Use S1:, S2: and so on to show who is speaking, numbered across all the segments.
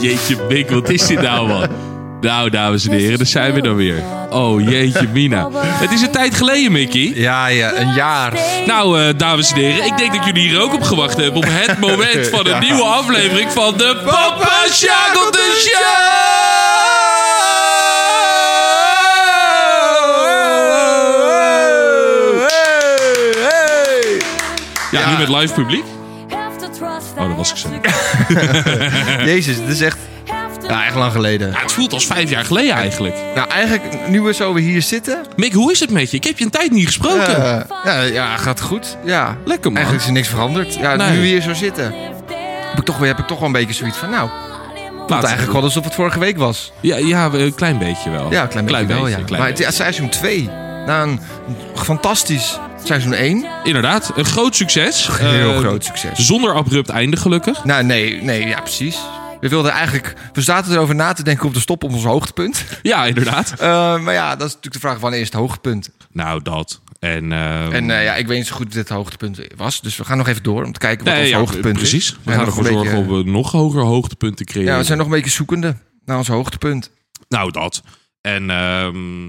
S1: Jeetje, Mick, wat is dit nou, man? Nou, dames en heren, daar zijn we dan weer. Oh, jeetje, Mina. Het is een tijd geleden, Mickey.
S2: Ja, ja, een jaar.
S1: Nou, eh, dames en heren, ik denk dat jullie hier ook op gewacht hebben. Op het moment van een nieuwe aflevering van de Papa Shackleton Show! Ja, nu met live publiek.
S3: Oh, dat was ik zo.
S2: Jezus, dit is echt, ja, echt lang geleden.
S1: Ja, het voelt als vijf jaar geleden eigenlijk.
S2: Nou, eigenlijk, nu we zo weer hier zitten...
S1: Mick, hoe is het met je? Ik heb je een tijd niet gesproken.
S2: eh, ja, ja, gaat goed. Ja.
S1: Lekker, man.
S2: Eigenlijk is er niks veranderd. Ja,
S1: Nee.
S2: nu we hier zo zitten, heb ik, toch, weer- heb ik toch wel een beetje zoiets van... Nou, het
S1: Laat-
S2: voelt eigenlijk wel alsof het vorige week was.
S1: Ja, ja, een klein beetje wel.
S2: Ja, een klein beetje wel, ja.
S1: klein
S2: maar het,
S1: beetje.
S2: ja, seizoen 2, na een fantastisch seizoen 1...
S1: Inderdaad, een groot succes.
S2: Heel
S1: Eh,
S2: groot succes.
S1: Zonder abrupt einde, gelukkig.
S2: Nou, nee, nee, ja, precies. We wilden eigenlijk... We zaten erover na te denken om te stoppen op ons hoogtepunt.
S1: Ja, inderdaad.
S2: Eh, maar ja, dat is natuurlijk de vraag van eerst het hoogtepunt.
S1: Nou, dat. En, ehm,
S2: En eh, ja, ik weet niet zo goed wat dit hoogtepunt was. Dus we gaan nog even door om te kijken wat
S1: nee,
S2: ons
S1: ja,
S2: hoogtepunt is.
S1: precies. We
S2: zijn
S1: gaan
S2: nog
S1: ervoor
S2: een
S1: zorgen
S2: beetje-
S1: om we nog hogere hoogtepunten creëren.
S2: Ja, we zijn nog een beetje zoekende naar ons hoogtepunt.
S1: Nou, dat. En, ehm,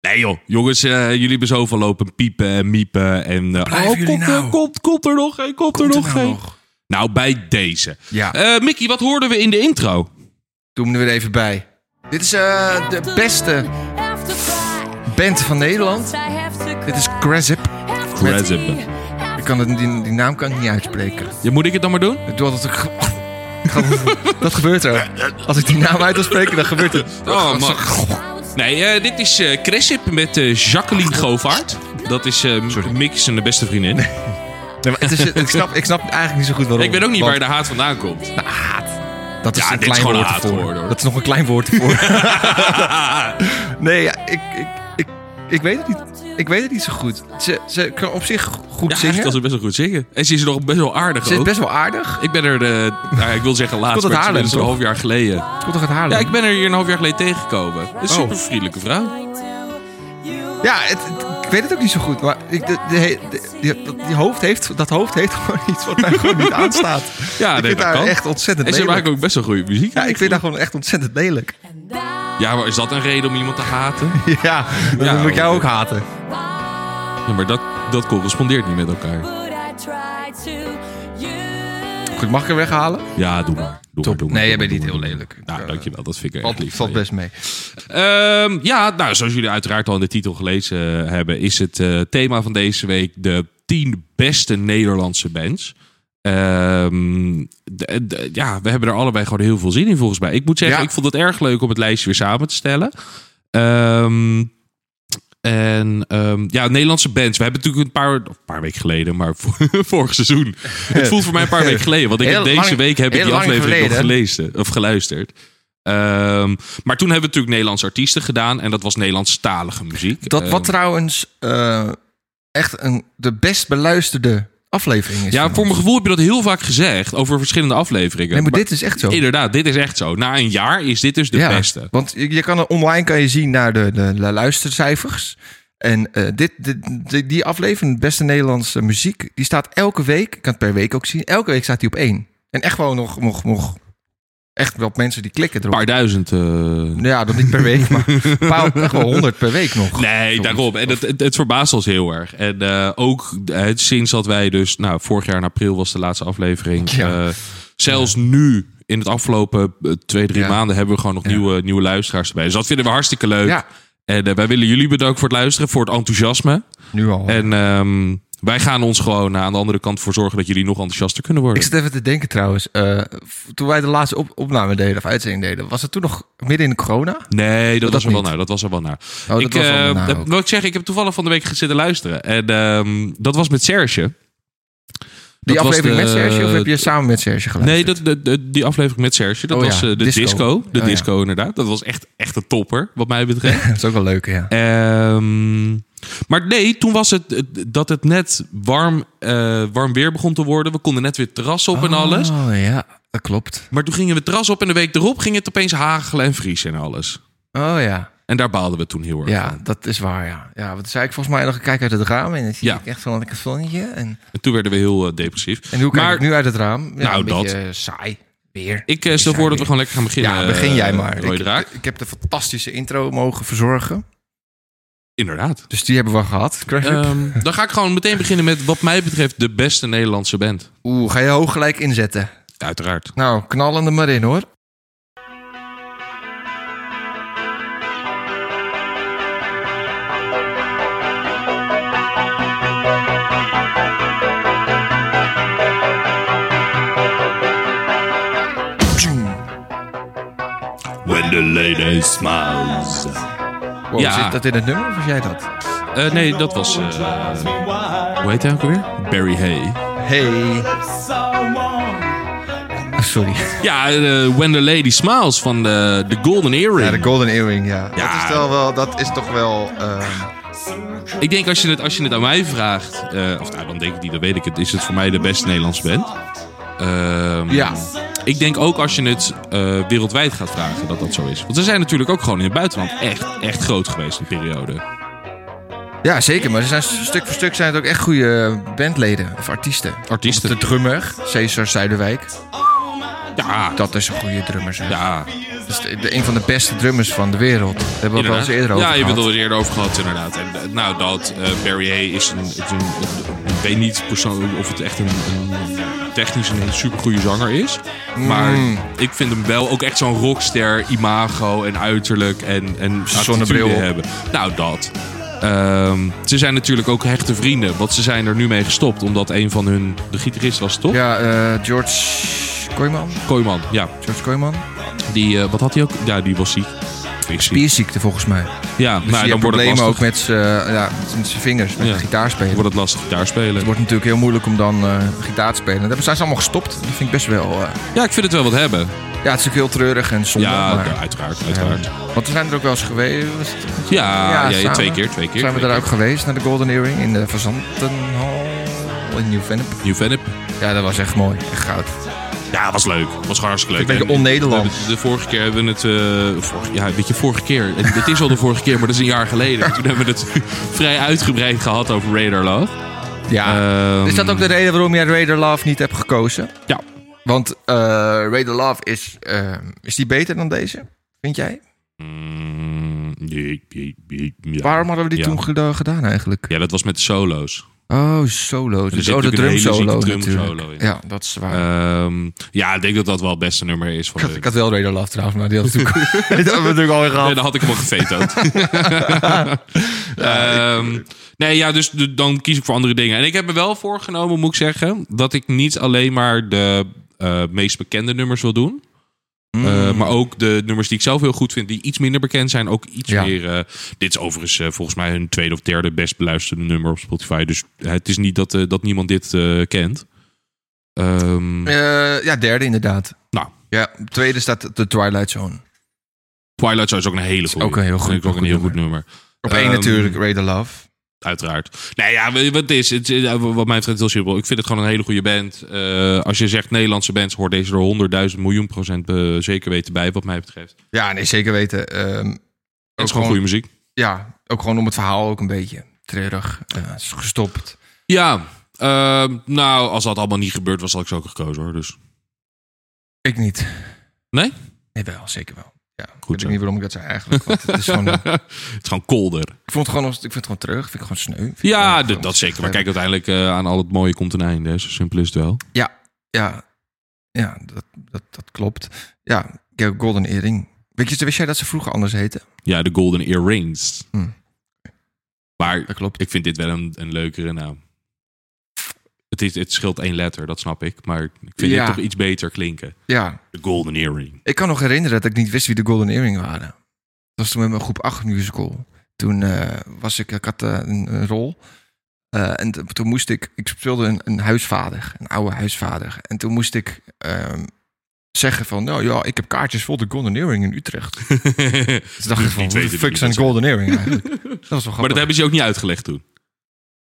S1: nee joh, jongens, eh, jullie hebben zoveel lopen piepen en miepen. En, eh,
S2: Blijven
S1: oh,
S2: jullie
S1: komt,
S2: nou?
S1: er, komt, komt er nog een, komt, er
S2: Komt
S1: nog
S2: er nou
S1: geen.
S2: nog?
S1: Nou, bij deze.
S2: Ja.
S1: Eh, Mickey, wat hoorden we in de intro?
S2: Doen we er weer even bij. Dit is eh, de beste band van Nederland. Dit is Crasip.
S1: Crasip.
S2: Ik kan het, die, die naam kan ik niet uitspreken.
S1: Ja, moet ik het dan maar doen?
S2: Ik doe altijd... Ik ga- Dat gebeurt er. Als ik die naam uit wil spreken, dan gebeurt het.
S1: Oh, man. Nee, eh, dit is eh Cressip met eh, Jacqueline Govaert. Dat is eh Mick zijn beste vriendin.
S2: Nee, maar het is, ik, snap, ik snap eigenlijk niet zo goed waarom.
S1: Ik weet ook niet
S2: Want-
S1: waar de haat vandaan komt.
S2: Dat is
S1: Ja,
S2: een
S1: dit is
S2: klein
S1: gewoon
S2: woord
S1: een
S2: ervoor.
S1: haatwoord, hoor.
S2: Dat is nog een klein woord ervoor. nee, ja, ik, ik, ik, ik weet het niet. Ik weet het niet zo goed. Ze, ze kan op zich goed
S1: Ja, eigenlijk kan
S2: zingen.
S1: ze best wel goed zingen. En ze is nog best wel aardig
S2: Ze is
S1: ook.
S2: best wel aardig.
S1: Ik ben er, eh, nou, ik wil zeggen laatst,
S2: Komt
S1: maar het
S2: uit Haarlem,
S1: is een
S2: toch?
S1: half jaar geleden.
S2: Het komt toch uit Haarlem?
S1: Ja, ik ben er hier een half jaar geleden tegengekomen.
S2: Oh.
S1: Een super vriendelijke vrouw.
S2: Ja, het, het- ik weet het ook niet zo goed. Maar ik, de, de he- de- die, dat- die hoofd heeft, dat hoofd heeft gewoon iets wat mij gewoon niet aanstaat.
S1: Ja,
S2: ik
S1: nee,
S2: vind
S1: dat
S2: haar
S1: kan.
S2: echt ontzettend
S1: En ze
S2: lelijk.
S1: maken ook best wel goede muziek.
S2: Ja, ik vind haar gewoon echt ontzettend lelijk.
S1: Ja, maar is dat een reden om iemand te haten?
S2: Ja, dan
S1: Ja,
S2: moet ik jou
S1: hoor.
S2: ook haten.
S1: Ja, maar dat, dat correspondeert niet met elkaar.
S2: Goed, mag ik hem weghalen?
S1: Ja, doe maar. Doe maar,
S2: Top.
S1: doe maar
S2: Nee, jij
S1: doe
S2: bent
S1: maar, doe
S2: niet heel
S1: maar.
S2: lelijk.
S1: Nou,
S2: Ja.
S1: dankjewel. Dat vind ik echt
S2: Valt,
S1: lief.
S2: valt
S1: van je.
S2: best mee.
S1: Ehm, ja, nou, zoals jullie uiteraard al in de titel gelezen eh, hebben, is het eh, thema van deze week de 10 beste Nederlandse bands. Ehm, d- d- ja, we hebben er allebei gewoon heel veel zin in volgens mij. Ik moet zeggen,
S2: Ja.
S1: ik vond het erg leuk om het lijstje weer samen te stellen. Ehm, en ehm, ja, Nederlandse bands. We hebben natuurlijk een paar, of een paar weken geleden, maar vor- vorig seizoen. Het voelt voor mij een paar weken geleden. Want ik heb
S2: Heel
S1: deze
S2: lang-
S1: week heb ik
S2: heel
S1: die
S2: lang
S1: aflevering nog
S2: geleden.
S1: gelezen of geluisterd. Ehm, maar toen hebben we natuurlijk Nederlandse artiesten gedaan. En dat was Nederlandstalige muziek.
S2: Dat wat
S1: Ehm,
S2: trouwens eh, echt een, de best beluisterde aflevering is.
S1: ja,
S2: van
S1: voor
S2: ons.
S1: mijn gevoel heb je dat heel vaak gezegd over verschillende afleveringen.
S2: Nee, maar,
S1: Maar
S2: dit is echt zo.
S1: Inderdaad, dit is echt zo. Na een jaar is dit dus de
S2: ja,
S1: beste.
S2: Want je, je kan er- online kan je zien naar de, de, de luistercijfers. En eh, dit, dit, die- die aflevering, beste Nederlandse muziek, die staat elke week, ik kan het per week ook zien, elke week staat die op één. En echt gewoon nog, nog, nog echt wel mensen die klikken
S1: Een
S2: erop.
S1: paar duizend. eh,
S2: Ja, dat niet per week, maar een paar, echt wel honderd per week nog.
S1: Nee,
S2: Soms.
S1: daarom. En het, het, het verbaast ons heel erg. En eh, ook eh, sinds dat wij dus... Nou, vorig jaar in april was de laatste aflevering.
S2: Ja.
S1: Eh, zelfs nu, in het afgelopen eh, twee, drie
S2: Ja.
S1: maanden... hebben we gewoon nog
S2: Ja.
S1: nieuwe, nieuwe luisteraars erbij. Dus dat vinden we hartstikke leuk.
S2: Ja,
S1: En eh, wij willen jullie bedanken voor het luisteren, voor het enthousiasme.
S2: nu al.
S1: En ehm, wij gaan ons gewoon eh, aan de andere kant voor zorgen... dat jullie nog enthousiaster kunnen worden.
S2: Ik zit even te denken trouwens. eh, f- toen wij de laatste op opname deden, of uitzending deden, was het toen nog midden in de corona?
S1: Nee, dat,
S2: Dat
S1: was er wel
S2: niet. Oh,
S1: naar. Dat was er wel naar.
S2: dat
S1: ik,
S2: was er wel
S1: eh,
S2: naar
S1: dat
S2: ook.
S1: wil ik zeggen, ik heb toevallig van de week zitten luisteren. En ehm, dat was met Serge.
S2: Die
S1: Dat was
S2: aflevering
S1: de-
S2: met Serge, of heb je samen met Serge geluisterd?
S1: Nee, dat, dat- dat- die aflevering met Serge, dat
S2: Oh ja,
S1: was eh, de disco.
S2: disco.
S1: De
S2: Oh ja.
S1: disco, inderdaad. Dat was echt, echt een topper, wat mij betreft.
S2: dat is ook wel leuk, ja.
S1: Ehm, maar nee, toen was het eh, dat het net warm, eh, warm weer begon te worden. We konden net weer het terras op en alles.
S2: Oh ja, dat klopt.
S1: Maar toen gingen we het terras op en de week erop ging het opeens hagelen en vriezen en alles.
S2: Oh ja.
S1: En daar baalden we toen heel erg
S2: Ja,
S1: van.
S2: dat is waar, ja. Ja, want toen zei ik volgens mij nog een kijk uit het raam en dan zie
S1: Ja.
S2: ik echt zo'n lekker zonnetje. En,
S1: En toen werden we heel eh, depressief.
S2: en hoe kijk
S1: maar
S2: ik nu uit het raam? Ja,
S1: Nou,
S2: een
S1: dat.
S2: beetje eh, saai. Weer.
S1: ik eh, stel voor
S2: zijn
S1: dat we
S2: weer.
S1: gewoon lekker gaan beginnen.
S2: ja, begin jij
S1: eh,
S2: maar.
S1: Roy
S2: Ik,
S1: Draak.
S2: ik heb de fantastische intro mogen verzorgen.
S1: Inderdaad.
S2: Dus die hebben we gehad. Crash Up.
S1: Ehm, dan ga ik gewoon meteen beginnen met wat mij betreft de beste Nederlandse band.
S2: Oeh, ga je hoog gelijk inzetten.
S1: Uiteraard.
S2: Nou, knallen er maar in hoor.
S1: When the lady smiles.
S2: Wow,
S1: Ja.
S2: Zit dat in het nummer of was jij dat?
S1: nee, dat was... eh, hoe heet hij ook alweer? Barry Hay.
S2: Hey. Ah, Sorry.
S1: Ja, eh, When the lady smiles van de, de Golden Earring.
S2: Ja, de Golden Earring, ja.
S1: Ja.
S2: Dat, is wel wel, dat is toch wel... ehm,
S1: Ik denk als je het, als je het aan mij vraagt, eh, of nou dan denk ik niet, dan weet ik het, is het voor mij de beste Nederlandse band. Ehm,
S2: Ja.
S1: Ik denk ook als je het eh, wereldwijd gaat vragen dat dat zo is. Want ze zijn natuurlijk ook gewoon in het buitenland echt, echt groot geweest een periode.
S2: ja, zeker. Maar er zijn, stuk voor stuk zijn het ook echt goede bandleden of artiesten.
S1: Artiesten.
S2: De drummer, Cesar Zuiderwijk.
S1: Ja,
S2: Dat is een goede drummer, zeg.
S1: ja
S2: Dat is de, de- een van de beste drummers van de wereld. Daar hebben we ook wel
S1: inderdaad.
S2: eens eerder over
S1: Ja, je
S2: gehad.
S1: hebt het al eerder over gehad inderdaad. En, eh, nou, dat eh, Barry Hay is een, is een, ik weet niet persoonlijk of het echt een, een technisch een supergoeie zanger is. Maar
S2: Hmm.
S1: ik vind hem wel ook echt zo'n rockster imago en uiterlijk en, en
S2: Zonnebril
S1: attitude
S2: op.
S1: hebben. Nou, dat. Ehm, ze zijn natuurlijk ook hechte vrienden, want ze zijn er nu mee gestopt. Omdat een van hun, de gitarist was toch?
S2: Ja, eh, George Kooijman.
S1: Kooiman, ja.
S2: George Kooijman.
S1: Die, eh, wat had hij ook? Ja, die was ziek. Is ziek.
S2: Spierziekte volgens mij.
S1: Ja, nou,
S2: Dus die
S1: dan
S2: heeft
S1: wordt het
S2: problemen
S1: lastig.
S2: ook met zijn ja, met zijn vingers, met
S1: Ja.
S2: het
S1: Dan
S2: gitaarspelen. Het
S1: wordt het lastig gitaar spelen.
S2: wordt natuurlijk heel moeilijk om dan eh, gitaar te spelen. Daar zijn ze allemaal gestopt. Dat vind ik best wel... eh,
S1: Ja, ik vind het wel wat hebben.
S2: ja, het is natuurlijk heel treurig en zonde.
S1: Ja,
S2: maar,
S1: ja, uiteraard, uiteraard. Ja,
S2: Want we zijn er ook wel eens geweest. Was het-
S1: ja,
S2: samen.
S1: twee keer, twee keer.
S2: zijn we
S1: twee
S2: daar ook
S1: keer.
S2: geweest, naar de Golden Earring in de Verzantenhal in Nieuw-Vennep.
S1: Nieuw Vennep.
S2: Ja, dat was echt mooi. Echt goud.
S1: Ja, was leuk. Was gewoon hartstikke leuk.
S2: Een beetje
S1: En
S2: on-Nederlands.
S1: we hebben- De vorige keer hebben we het... eh, vorig- ja, weet je, vorige keer. Het, het is al de vorige keer, maar dat is een jaar geleden. Toen hebben we het vrij uitgebreid gehad over Radar Love.
S2: Ja.
S1: Ehm,
S2: is dat ook de reden waarom jij Raider Love niet hebt gekozen?
S1: Ja.
S2: Want eh Raider Love is, eh, is die beter dan deze? Vind jij?
S1: Mm, je- je- je- ja.
S2: Waarom hadden we die
S1: Ja.
S2: toen geda- gedaan eigenlijk?
S1: Ja, dat was met de solo's.
S2: Oh, solo. Dus
S1: zit
S2: oh, de
S1: natuurlijk
S2: drum
S1: een hele zieke
S2: solo
S1: drum
S2: natuurlijk.
S1: solo in.
S2: Ja, dat is waar.
S1: Ehm, ja, ik denk dat dat wel het beste nummer is van
S2: ik, had,
S1: de...
S2: ik had wel Raider Love trouwens, maar die had natuurlijk, die hadden we natuurlijk al gehad.
S1: Nee, dan had ik hem al gevetood. Ehm, nee, ja, dus de- dan kies ik voor andere dingen. En ik heb me wel voorgenomen, moet ik zeggen, dat ik niet alleen maar de eh, meest bekende nummers wil doen.
S2: Hmm.
S1: Eh, maar ook de nummers die ik zelf heel goed vind, die iets minder bekend zijn, ook iets
S2: Ja.
S1: meer. eh, dit is overigens eh, volgens mij hun tweede of derde best beluisterde nummer op Spotify. Dus het is niet dat, eh, dat niemand dit eh, kent. Ehm,
S2: Eh, ja, derde inderdaad.
S1: Nou.
S2: Ja, tweede staat The Twilight Zone.
S1: Twilight Zone is ook een hele goede.
S2: ook een heel goed-
S1: ook een
S2: goed
S1: heel goed nummer.
S2: Op één
S1: Ehm,
S2: natuurlijk Raider Love.
S1: Uiteraard. Nee, ja, weet je wat het is, het, is- eh, wat mij betreft heel simpel. Ik vind het gewoon een hele goede band. Eh, als je zegt Nederlandse bands, hoort deze er 100.000 miljoen procent eh, zeker weten bij, wat mij betreft. Het
S2: Ja, nee, zeker weten. Ehm,
S1: is gewoon goede muziek.
S2: Ja, ook gewoon om het verhaal ook een beetje treurig. Eh, het is gestopt.
S1: Ja, ehm, nou, als dat allemaal niet gebeurd was, had ik ze ook gekozen hoor. Dus
S2: Ik niet.
S1: Nee?
S2: Nee, wel, zeker wel. Ja, Goed weet
S1: zo.
S2: ik niet waarom ik dat zei eigenlijk. Want het is gewoon, eh, ik
S1: het is gewoon kolder.
S2: vond het gewoon, als- ik vind het gewoon terug. Vind ik gewoon sneu. Vind ik
S1: Ja,
S2: gewoon-
S1: d- dat zeker. Maar kijk, uiteindelijk eh, aan al het mooie komt een einde. hè. Zo simpel is het wel.
S2: Ja, ja dat, dat, dat klopt. Ja, ik heb Golden Earring. Weet je, wist jij dat ze vroeger anders heten?
S1: Ja, de Golden Earrings.
S2: Hmm.
S1: Maar
S2: Dat klopt.
S1: ik vind dit wel een, een leukere naam. Het, is, het scheelt één letter, dat snap ik. Maar ik vind
S2: Ja.
S1: dit toch iets beter klinken.
S2: Ja,
S1: De Golden Earring.
S2: ik kan nog herinneren dat ik niet wist wie de Golden Earring waren. Dat was toen met mijn groep 8 musical. Toen eh, was ik, ik had eh, een, een rol. Eh, en t- toen moest ik, ik speelde een, een huisvader, een oude huisvader. En toen moest ik ehm, zeggen van, nou ja, ik heb kaartjes voor de Golden Earring in Utrecht. Toen dacht ik
S1: Dus Niet
S2: van,
S1: weten
S2: what the
S1: wie
S2: fuck
S1: dat
S2: zijn
S1: zijn.
S2: Golden Earring eigenlijk? dat was wel
S1: maar
S2: grappig.
S1: dat hebben ze je ook niet uitgelegd toen.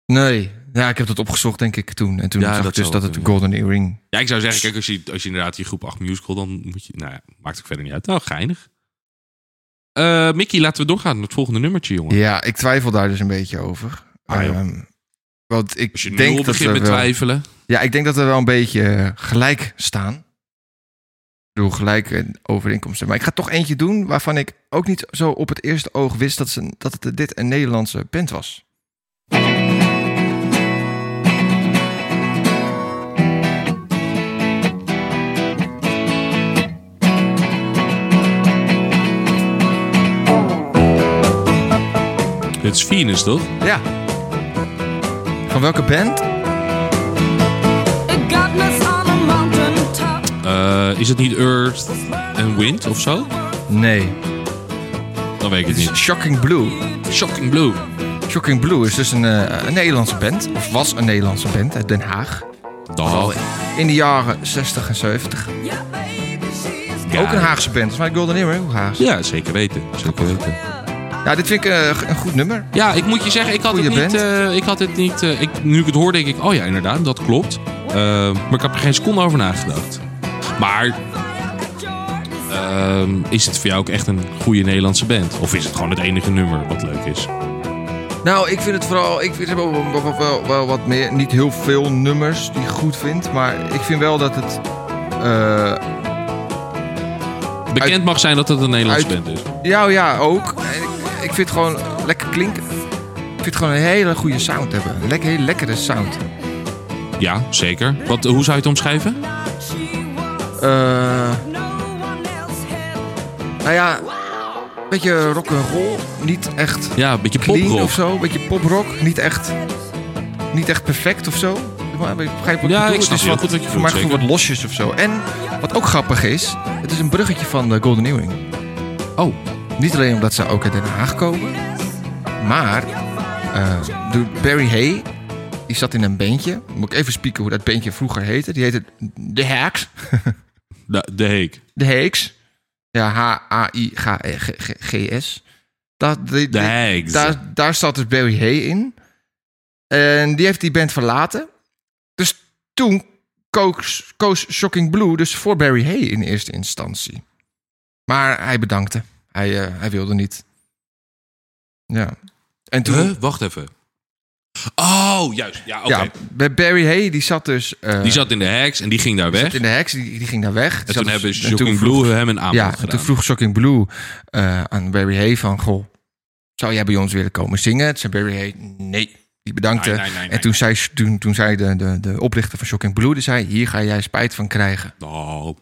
S2: Nee, ja, ik heb dat opgezocht denk ik toen. En toen
S1: Ja,
S2: zag
S1: dat
S2: ik dus
S1: zal
S2: dat
S1: wel
S2: het de Golden Earring...
S1: Ja, ik zou zeggen, kijk, als je, als je inderdaad je groep 8 musical, dan moet je... Nou ja, maakt ook verder niet uit. Nou, geinig. Eh Mickey, laten we doorgaan naar het volgende nummertje, jongen.
S2: Ja, ik twijfel daar dus een beetje over.
S1: Ah, joh.
S2: Ehm, want ik
S1: Als je
S2: denk
S1: nul
S2: dat
S1: begint
S2: we
S1: met
S2: wel,
S1: twijfelen.
S2: Ja, ik denk dat we wel een beetje eh, gelijk staan. Ik bedoel, gelijke overeenkomsten. Maar ik ga toch eentje doen waarvan ik ook niet zo op het eerste oog wist dat, ze, dat het dit een Nederlandse band was.
S1: Het is Venus, toch?
S2: Ja. Van welke band?
S1: Eh, is het niet Earth and Wind of zo?
S2: Nee.
S1: Dan weet ik het
S2: Het
S1: niet.
S2: is Shocking Blue.
S1: Shocking Blue.
S2: Shocking Blue is dus een, eh, een Nederlandse band. Of was een Nederlandse band uit Den Haag.
S1: Dag.
S2: In de jaren 60 en 70. Ook een Haagse band. dus, Maar ik wilde niet meer hoe Haags.
S1: Ja, zeker weten. Zeker weten.
S2: Ja, dit vind ik eh, een goed nummer.
S1: Ja, ik moet je zeggen, ik had
S2: Goeie
S1: het niet.
S2: band.
S1: eh, ik had het niet eh, ik, nu ik het hoor, denk ik, oh ja, inderdaad, dat klopt. Eh, maar ik heb er geen seconde over nagedacht. Maar
S2: Eh,
S1: ehm, is het voor jou ook echt een goede Nederlandse band? Of is het gewoon het enige nummer wat leuk is?
S2: Nou, ik vind het vooral. Ik vind er wel, wel, wel- wel- wel wat meer. Niet heel veel nummers die ik goed vind. Maar ik vind wel dat het. eh,
S1: Bekend mag zijn dat het een Nederlandse
S2: uit-
S1: band is.
S2: ja, ja, ook. En Ik, ik vind het gewoon lekker klinken. Ik vind het gewoon een hele goede sound hebben. Een lekker, hele lekkere sound.
S1: Ja, zeker. Wat, hoe zou je het omschrijven?
S2: Eh, nou ja, een beetje rock and roll. Niet echt
S1: Ja, een beetje
S2: clean
S1: poprock.
S2: of zo. Een beetje poprock. Niet echt, niet echt perfect of zo. Maar ik begrijp wat
S1: Ja,
S2: ik bedoel.
S1: ik snap
S2: het is
S1: heel
S2: wat,
S1: goed wat je
S2: voor mij
S1: bedoelt,
S2: goed wat losjes of zo. En wat ook grappig is, het is een bruggetje van de Golden Earring.
S1: Oh,
S2: Niet alleen omdat ze ook uit Den Haag komen, maar eh, de Barry Hay, die zat in een bandje. Moet ik even spieken hoe dat bandje vroeger heette. Die heette The Hacks.
S1: de, de heek.
S2: De Heeks. Ja, H-A-I-G-S. Dat, die-
S1: De
S2: die-
S1: heeks.
S2: daar, daar zat dus Barry Hay in. En die heeft die band verlaten. Dus toen koos, koos Shocking Blue dus voor Barry Hay in eerste instantie. Maar hij bedankte. Hij, eh, hij wilde niet. Ja. En toen...
S1: Huh? Wacht even. Oh, juist. Ja, oké.
S2: Ja, bij Barry Hay, die zat dus... eh,
S1: Die zat in de heks en die ging daar
S2: die
S1: weg.
S2: zat in de heks, die, die ging daar weg. Die
S1: En
S2: zat
S1: toen
S2: dus-
S1: hebben
S2: en toen
S1: Shocking
S2: vroeg-
S1: Blue hem een aanbod
S2: Ja, en
S1: gedaan.
S2: toen vroeg Shocking Blue eh, aan Barry Hay van... Goh, zou jij bij ons willen komen zingen? Toen zei Barry Hay, nee. Die bedankte.
S1: Nee, nee, nee, nee.
S2: en toen zei, toen, toen zei de, de, de oprichter van Shocking Blue... Die zei, hier ga jij spijt van krijgen.
S1: Nou.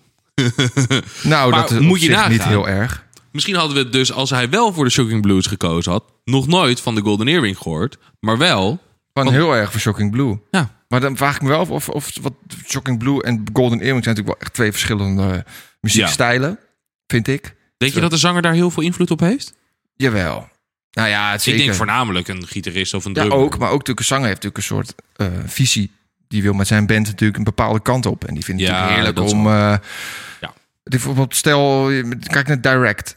S2: Nou,
S1: Maar
S2: dat is op
S1: moet je
S2: zich niet
S1: nagaan.
S2: heel erg.
S1: Misschien hadden we het dus, als hij wel voor de Shocking Blues gekozen had, nog nooit van de Golden Earring gehoord. Maar wel,
S2: Van heel erg voor Shocking Blue.
S1: ja,
S2: Maar dan vraag ik me wel af of, of wat Shocking Blue en Golden Earring... zijn natuurlijk wel echt twee verschillende eh, muziekstijlen, vind ik.
S1: denk je dat de zanger daar heel veel invloed op heeft?
S2: Jawel. Nou ja, het
S1: Ik
S2: zeker.
S1: denk voornamelijk een gitarist of een
S2: Ja,
S1: drummer.
S2: ook. Maar ook natuurlijk een zanger heeft natuurlijk een soort eh, visie. Die wil met zijn band natuurlijk een bepaalde kant op. En die vindt het
S1: Ja,
S2: natuurlijk
S1: dat
S2: heerlijk
S1: is
S2: om... eh
S1: Ja.
S2: die- Bijvoorbeeld stel, je met- kijk naar Direct.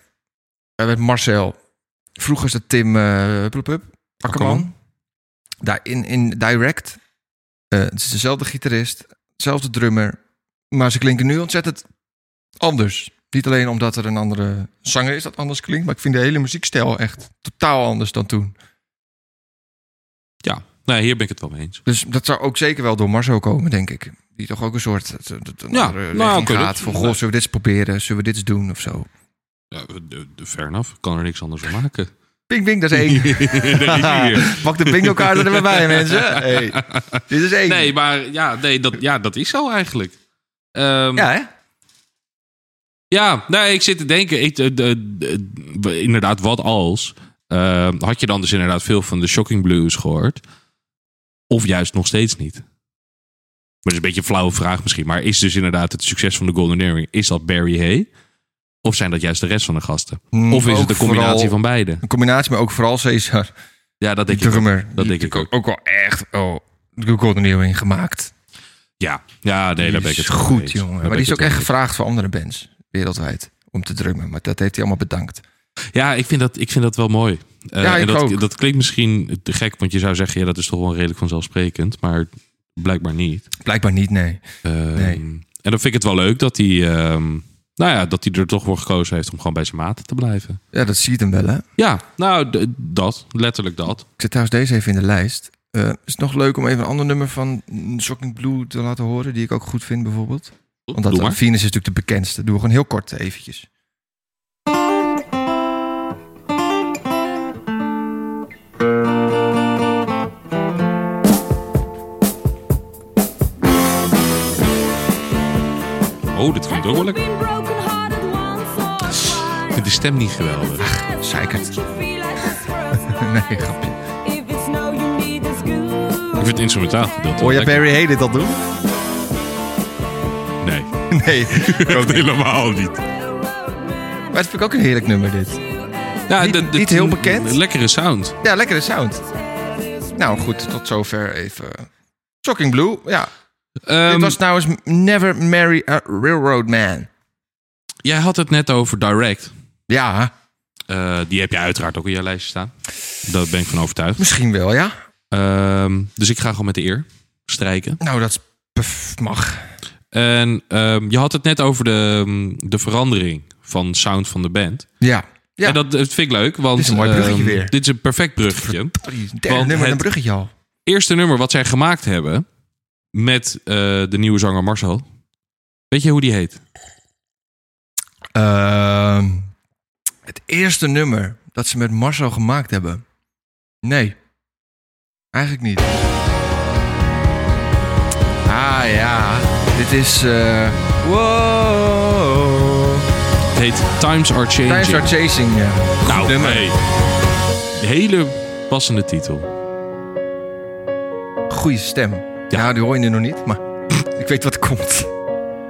S2: Eh, met Marcel. Vroeger is dat Tim eh Ploep, Ploep, Akkerman.
S1: Akkerman.
S2: Daar in, in Direct. eh, het is dezelfde gitarist, dezelfde drummer. Maar ze klinken nu ontzettend anders. Niet alleen omdat er een andere zanger is dat anders klinkt. Maar ik vind de hele muziekstijl echt totaal anders dan toen.
S1: Ja, nee, hier ben ik het wel mee eens.
S2: Dus dat zou ook zeker wel door Marzo komen, denk ik. Die toch ook een soort eh, eh, een
S1: Ja,
S2: andere
S1: nou,
S2: richting
S1: oké, dat-
S2: gaat. Van, goh, zullen we dit eens proberen? Zullen we dit eens doen of zo?
S1: Ja, de, de, fair enough, kan er niks anders van maken.
S2: Ping, ping, dat is één.
S1: Daar is hij weer.
S2: Pak de bingo kaart er maar bij, mensen. Hey, dit is één.
S1: Nee, maar ja, nee, dat, ja, dat is zo eigenlijk. Ehm,
S2: Ja, hè?
S1: Ja, nee, ik zit te denken. Ik, eh, de- de- de- inderdaad, wat als? eh, had je dan dus inderdaad veel van de Shocking Blues gehoord? Of juist nog steeds niet? Maar dat is een beetje een flauwe vraag misschien. Maar is dus inderdaad het succes van de Golden Earring... is dat Barry Hay? Of zijn dat juist de rest van de gasten?
S2: Mm,
S1: Of is
S2: ook
S1: het een combinatie
S2: vooral-
S1: van beide?
S2: Een combinatie, maar ook vooral Cesar.
S1: Ja, dat
S2: Die
S1: denk ik ook.
S2: drummer.
S1: Dat
S2: die
S1: denk ik ook.
S2: natuurlijk Ook wel echt oh, de Golden Earring gemaakt.
S1: Ja, ja nee, daar ben ik
S2: Die
S1: het
S2: is
S1: wel mee
S2: goed,
S1: eens.
S2: jongen.
S1: Daar
S2: Maar
S1: ben
S2: die is
S1: ik
S2: ook
S1: het
S2: echt
S1: wel mee
S2: gevraagd voor andere bands wereldwijd om te drummen. Maar dat heeft hij allemaal bedankt.
S1: eens. Ja, ik vind dat, ik vind dat wel mooi. Eh,
S2: Ja,
S1: en
S2: ik
S1: dat,
S2: ook.
S1: dat klinkt misschien te gek, want je zou zeggen... ja, dat is toch wel redelijk vanzelfsprekend. Maar blijkbaar niet.
S2: Blijkbaar niet, nee.
S1: Ehm,
S2: Nee.
S1: En dan vind ik het wel leuk dat hij, ehm, Nou ja, dat hij er toch voor gekozen heeft om gewoon bij zijn maten te blijven.
S2: Ja, dat ziet hem wel, hè?
S1: Ja, nou, d- dat. Letterlijk dat.
S2: Ik zet trouwens deze even in de lijst. Eh, is het nog leuk om even een ander nummer van mm, Shocking Blue te laten horen, die ik ook goed vind bijvoorbeeld? Want dat
S1: Doe maar.
S2: Venus is natuurlijk de bekendste. Doe we gewoon heel kort eventjes.
S1: Oh, dit klinkt ook wel lekker. Ik
S3: Geweldig.
S1: vind de stem niet geweldig.
S2: zeikert.
S3: nee, grapje.
S1: Ik vind het instrumentaal gedeelte
S2: Hoor
S1: wel
S2: je
S1: lekker.
S2: Barry Haley dat doen?
S1: Nee,
S2: Nee.
S1: dat helemaal niet.
S2: maar dat vind ik ook een heerlijk nummer, dit.
S1: Ja,
S2: Niet-
S1: dat- dat-
S2: niet heel bekend.
S1: Lekkere sound.
S2: Ja, lekkere sound. Nou goed, tot zover even. Shocking Blue, ja. dit
S1: Ehm,
S2: was nou eens Never Marry a Railroad Man.
S1: Jij had het net over Direct.
S2: Ja,
S1: Eh, die heb je uiteraard ook in je lijstje staan. Daar ben ik van overtuigd.
S2: misschien wel, ja.
S1: Ehm, dus ik ga gewoon met de eer strijken.
S2: Nou, dat is pff, mag.
S1: En ehm, je had het net over de, ehm, de verandering van sound van de band.
S2: Ja. Ja,
S1: En dat, dat vind ik leuk, want
S2: Dit is een mooi bruggetje
S1: ehm,
S2: weer.
S1: Dit is een perfect bruggetje.
S2: derde
S1: want
S2: nummer,
S1: het-
S2: een bruggetje al.
S1: Eerste nummer wat zij gemaakt hebben met eh, de nieuwe zanger Marcel. Weet je hoe die heet?
S2: Ehm, het eerste nummer dat ze met Marcel gemaakt hebben. Nee. Eigenlijk niet. Ah ja. Dit is. eh wow.
S1: Het heet Times Are Changing.
S2: Times are chasing. ja.
S1: nou,
S2: nummer.
S1: hey. Hele passende titel.
S2: Goeie stem. Ja, die hoor je nog niet, maar ik weet wat er komt.